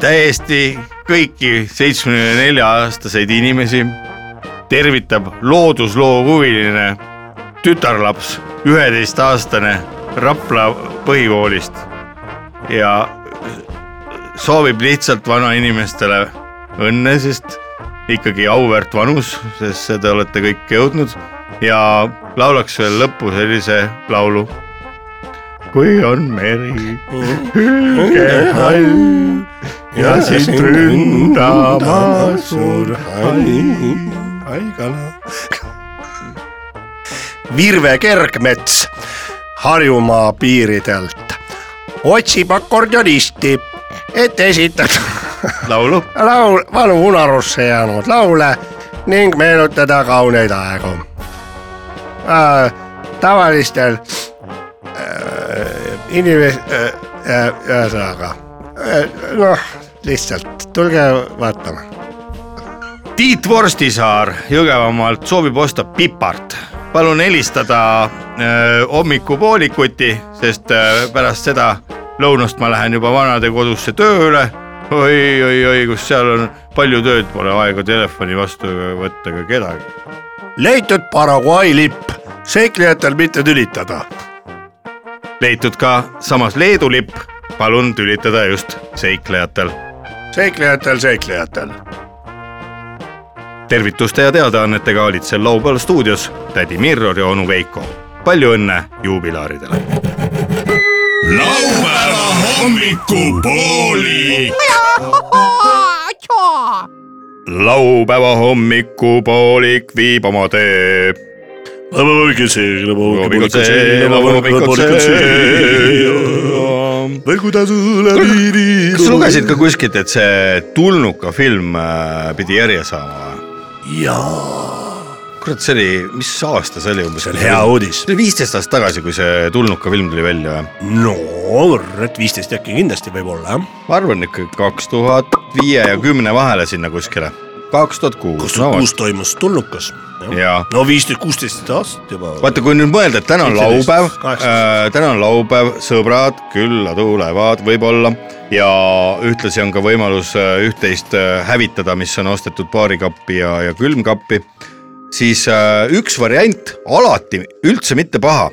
Speaker 1: täiesti kõiki seitsmekümne nelja aastaseid inimesi tervitab loodusloo huviline tütarlaps, üheteistaastane Rapla põhikoolist ja soovib lihtsalt vanainimestele õnne, sest ikkagi auväärt vanus, sest seda olete kõik jõudnud ja laulaks veel lõppu sellise laulu. kui on meri hülgehall ja sind ründama suur hall
Speaker 2: haigala. Virve Kergmets Harjumaa piiridelt otsib akordionisti, et esitada
Speaker 1: laulu
Speaker 2: laul, valu unarusse jäänud laule ning meenutada kauneid aegu äh,. tavalistel äh, inimes- äh,, ühesõnaga äh, äh, noh, lihtsalt tulge vaatama
Speaker 1: Tiit Vorstisaar Jõgevamaalt soovib osta pipart. palun helistada äh, hommikupoolikuti, sest äh, pärast seda lõunast ma lähen juba vanadekodusse tööle oi, oi. oi-oi-oi, kus seal on palju tööd, pole aega telefoni vastu võtta ega kedagi.
Speaker 2: leitud Paraguay lipp, seiklejatel mitte tülitada.
Speaker 1: leitud ka samas Leedu lipp, palun tülitada just seiklejatel.
Speaker 2: seiklejatel, seiklejatel
Speaker 1: tervituste ja teadaannetega olid sel laupäeval stuudios tädi Mirror ja onu Veiko. palju õnne juubilaaridele.
Speaker 3: laupäeva hommikupooli.
Speaker 1: laupäeva hommikupoolik viib oma tee. kas lugesid ka kuskilt, et see Tulnuka film äh, pidi järje saama?
Speaker 2: jaa.
Speaker 1: kurat, see oli, mis aasta see oli umbes?
Speaker 2: see on hea uudis.
Speaker 1: see oli viisteist aastat tagasi, kui see Tulnuka film tuli välja või?
Speaker 2: no kurat, viisteist äkki kindlasti võib-olla jah.
Speaker 1: ma arvan ikka kaks tuhat viie ja kümne vahele sinna kuskile. kaks tuhat kuus.
Speaker 2: kaks tuhat kuus toimus Tulnukas.
Speaker 1: jaa.
Speaker 2: no viisteist, kuusteist aastat juba.
Speaker 1: vaata, kui nüüd mõelda, et täna on laupäev, äh, täna on laupäv, sõbrad külla tulevad võib-olla ja ühtlasi on ka võimalus äh, üht-teist hävitada, mis on ostetud baarikappi ja, ja külmkappi siis äh, üks variant alati üldse mitte paha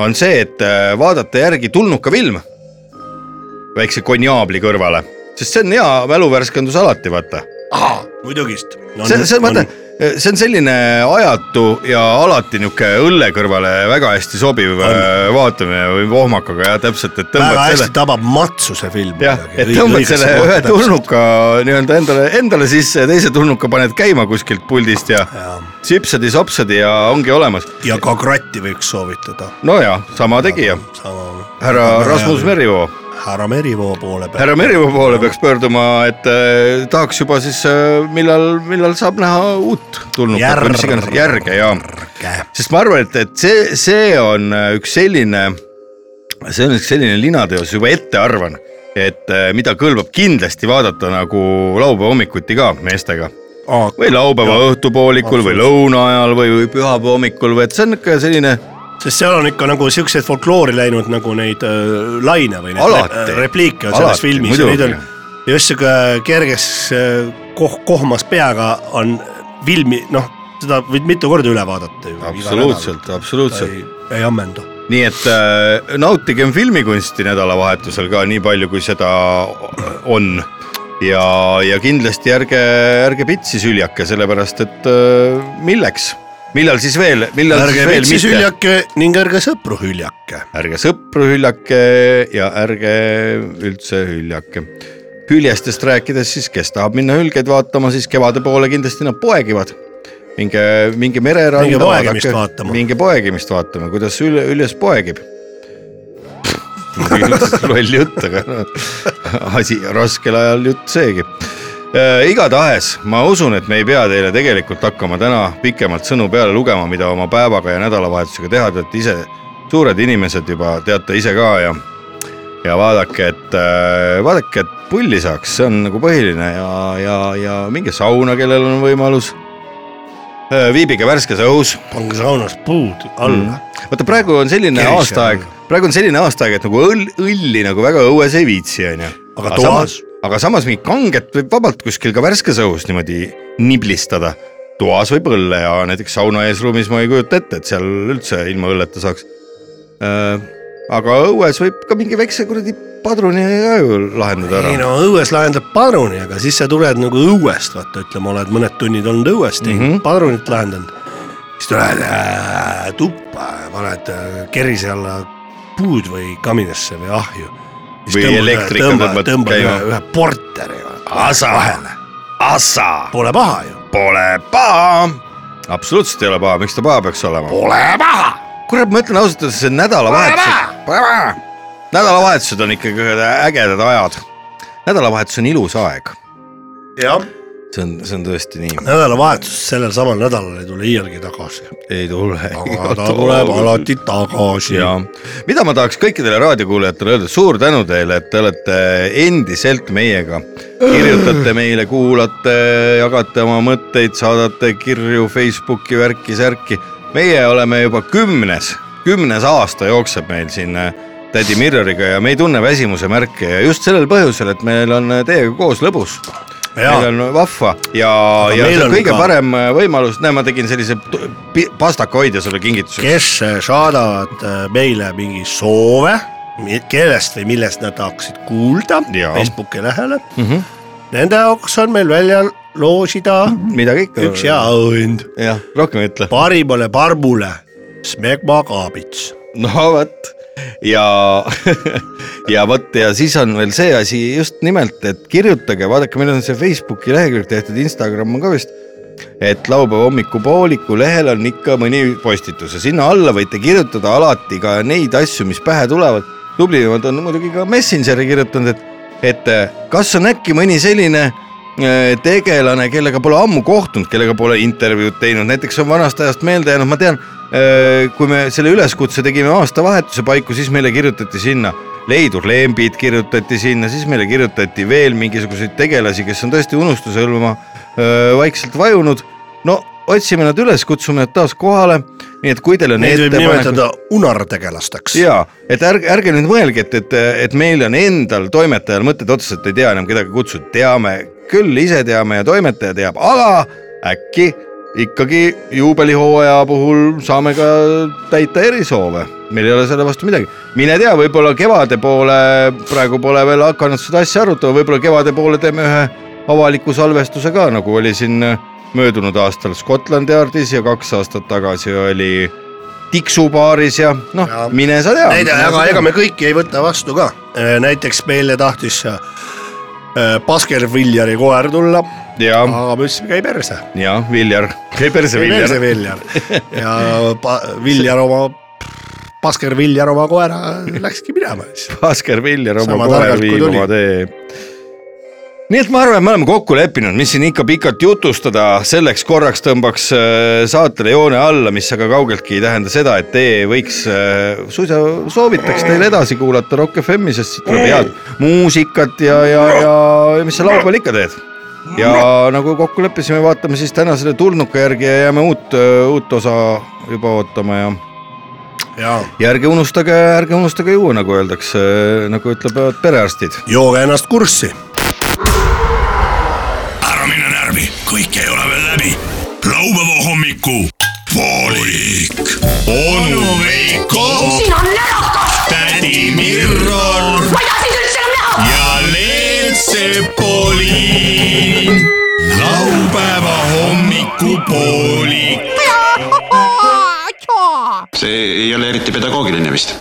Speaker 1: on see, et äh, vaadata järgi tulnuka film väikse konjaabli kõrvale, sest see on hea mäluvärskendus alati, vaata.
Speaker 2: muidugist
Speaker 1: no,. see, see, vaata, see on selline ajatu ja alati niisugune õlle kõrvale väga hästi sobiv on. vaatamine või vohmakaga jah, täpselt, et
Speaker 2: tõmbad väga selle. hästi tabab matsu see film.
Speaker 1: jah, et tõmbad selle ühe tulnuka nii-öelda endale, endale sisse ja teise tulnuka paned käima kuskilt puldist ja, ja. sipsadi-sopsadi ja ongi olemas.
Speaker 2: ja ka kratti võiks soovitada.
Speaker 1: no ja, sama tegija. härra Rasmus Merivoo
Speaker 2: härra Merivoo poole peal.
Speaker 1: härra Merivoo poole peaks pöörduma, et äh, tahaks juba siis äh, millal, millal saab näha uut tulnukat Järg. või mis iganes järge ja. sest ma arvan, et, et see, see on äh, üks selline, see on üks selline linateos juba ette arvan, et äh, mida kõlbab kindlasti vaadata nagu laupäeva hommikuti ka meestega. Aa, või laupäeva õhtupoolikul või lõuna ajal või, või pühapäeva hommikul või et see on ikka selline
Speaker 2: sest seal on ikka nagu siukseid folkloori läinud nagu neid äh, laine või neid
Speaker 1: alati,
Speaker 2: repliike on selles filmis ja neid on just sihuke kerges äh, koh-, kohmas peaga on filmi, noh, seda võid mitu korda üle vaadata ju.
Speaker 1: absoluutselt, absoluutselt.
Speaker 2: ei ammendu.
Speaker 1: nii et äh, nautigem filmikunsti nädalavahetusel ka nii palju, kui seda on. ja, ja kindlasti ärge, ärge pitsi süljake, sellepärast et äh, milleks, millal siis veel, millal
Speaker 2: ärge
Speaker 1: siis veel
Speaker 2: pitsi süljake ning ärge sõpru hüljake.
Speaker 1: ärge sõpru hüljake ja ärge üldse hüljake hüljestest rääkides, siis kes tahab minna hülgeid vaatama, siis kevade poole kindlasti nad poegivad minge, minge mereranda.
Speaker 2: minge poegimist vaadake, vaatama.
Speaker 1: minge poegimist vaatama, kuidas üle, üljes poegib. loll jutt, aga noh, asi raskel ajal jutt seegi e,. igatahes ma usun, et me ei pea teile tegelikult hakkama täna pikemalt sõnu peale lugema, mida oma päevaga ja nädalavahetusega teha, te olete ise suured inimesed juba, teate ise ka ja ja vaadake, et äh, vaadake, et pulli saaks, see on nagu põhiline ja, ja, ja minge sauna, kellel on võimalus Äh, viibige värskes õhus.
Speaker 2: pange saunas puud alla mm..
Speaker 1: vaata, praegu on selline Kerisja aastaaeg, praegu on selline aastaaeg, et nagu õll, õlli nagu väga õues ei viitsi, onju.
Speaker 2: aga toas?
Speaker 1: aga samas mingit kanget võib vabalt kuskil ka värskes õhus niimoodi niblistada. toas võib õlle ja näiteks sauna eesruumis ma ei kujuta ette, et seal üldse ilma õlleta saaks. Äh, aga õues võib ka mingi väikse kuradi padruni ka ju lahendada ära.
Speaker 2: ei no õues lahendab padruni, aga siis sa tuled nagu õuest, vaata ütleme, oled mõned tunnid olnud õues teinud mm -hmm., padrunit lahendanud. siis tuled äh, tuppa, paned äh, kerise alla puud või kaminasse või ahju.
Speaker 1: või elektrika
Speaker 2: tõmbad, tõmbad käima. ühe porteri asa vahele.
Speaker 1: asa.
Speaker 2: Pole paha ju.
Speaker 1: Pole paha. absoluutselt ei ole paha, miks ta paha peaks olema?
Speaker 2: Pole paha.
Speaker 1: kurat, ma ütlen ausalt öeldes, see nädalavahetus. Pole paha nädalavahetused on ikkagi ägedad ajad. nädalavahetus on ilus aeg.
Speaker 2: jah.
Speaker 1: see on, see on tõesti nii.
Speaker 2: nädalavahetus sellel samal nädalal ei tule iialgi tagasi.
Speaker 1: ei tule.
Speaker 2: aga ta tuleb alati tagasi.
Speaker 1: mida ma tahaks kõikidele raadiokuulajatele öelda, suur tänu teile, et te olete endiselt meiega. kirjutate meile, kuulate, jagate oma mõtteid, saadate kirju Facebooki värki-särki. meie oleme juba kümnes, kümnes aasta jookseb meil siin äh, tädi Mirroriga ja me ei tunne väsimuse märke ja just sellel põhjusel, et meil on äh, teiega koos lõbus. meil on vahva ja, ja see on kõige ka... parem äh, võimalus, näe, ma tegin sellise pastakahoidja sulle kingituseks.
Speaker 2: kes äh, saadavad äh, meile mingi soove, kellest või millest nad tahaksid kuulda ja. Facebooki lehele mm. -hmm. Nende jaoks on meil välja loosida
Speaker 1: midagi ikka.
Speaker 2: üks hea auhind.
Speaker 1: jah, rohkem ei ütle.
Speaker 2: parimale parbule Smegma Kaabits.
Speaker 1: no vot ja ja vot ja siis on veel see asi just nimelt, et kirjutage, vaadake, meil on see Facebooki lehekülg tehtud, Instagram on ka vist. et laupäeva hommikupooliku lehel on ikka mõni postitus ja sinna alla võite kirjutada alati ka neid asju, mis pähe tulevad. tublimad on muidugi ka Messengeri kirjutanud, et, et eh, kas on äkki mõni selline eh, tegelane, kellega pole ammu kohtunud, kellega pole intervjuud teinud, näiteks on vanast ajast meelde jäänud, ma tean, eh, kui me selle üleskutse tegime aastavahetuse paiku, siis meile kirjutati sinna Leidur Lembit kirjutati sinna, siis meile kirjutati veel mingisuguseid tegelasi, kes on tõesti unustuse hõlma vaikselt vajunud. no otsime nad üles, kutsume nad taas kohale. nii et kui teil on.
Speaker 2: Neid võib nimetada unartegelasteks.
Speaker 1: ja, et ärge, ärge nüüd mõelge, et, et, et meil on endal toimetajal mõtted otsas, et ei tea enam kedagi kutsuda, teame küll, ise teame ja toimetaja teab, aga äkki ikkagi juubelihooaja puhul saame ka täita erisoove, meil ei ole selle vastu midagi. mine tea, võib-olla kevade poole, praegu pole veel hakanud seda asja arutama, võib-olla kevade poole teeme ühe avaliku salvestuse ka, nagu oli siin möödunud aastal Scotland Yardis ja kaks aastat tagasi oli Tiksu baaris ja noh, mine sa tea.
Speaker 2: aga ega me kõiki ei võta vastu ka, Äh, näiteks meile tahtis Basker Viljari koer tulla. aga me ütlesime, käi perse.
Speaker 1: ja Viljar, käi perse Viljar.
Speaker 2: perse Viljar ja Viljar oma, Basker Viljar oma koera läkski minema siis.
Speaker 1: Basker Viljar oma koera viib oma tee nii et ma arvan, et me oleme kokku leppinud, mis siin ikka pikalt jutustada, selleks korraks tõmbaks äh, saatele joone alla, mis aga kaugeltki ei tähenda seda, et te võiks, äh, suisa soovitaks teil edasi kuulata Rock FM-i, sest siit tuleb head muusikat ja, ja, ja, ja mis sa laupäeval ikka teed. ja nagu kokku leppisime, vaatame siis tänasele tulnuka järgi ja jääme uut, äh, uut osa juba ootama ja ja, ja ärge unustage, ärge unustage juua, nagu öeldakse, nagu ütlevad perearstid.
Speaker 2: jooge ennast kurssi
Speaker 3: kõik ei ole veel läbi. laupäeva hommiku poolik. onu Veiko.
Speaker 7: siin on
Speaker 3: Sepolin . laupäeva hommikupooli .
Speaker 7: see ei ole eriti pedagoogiline vist .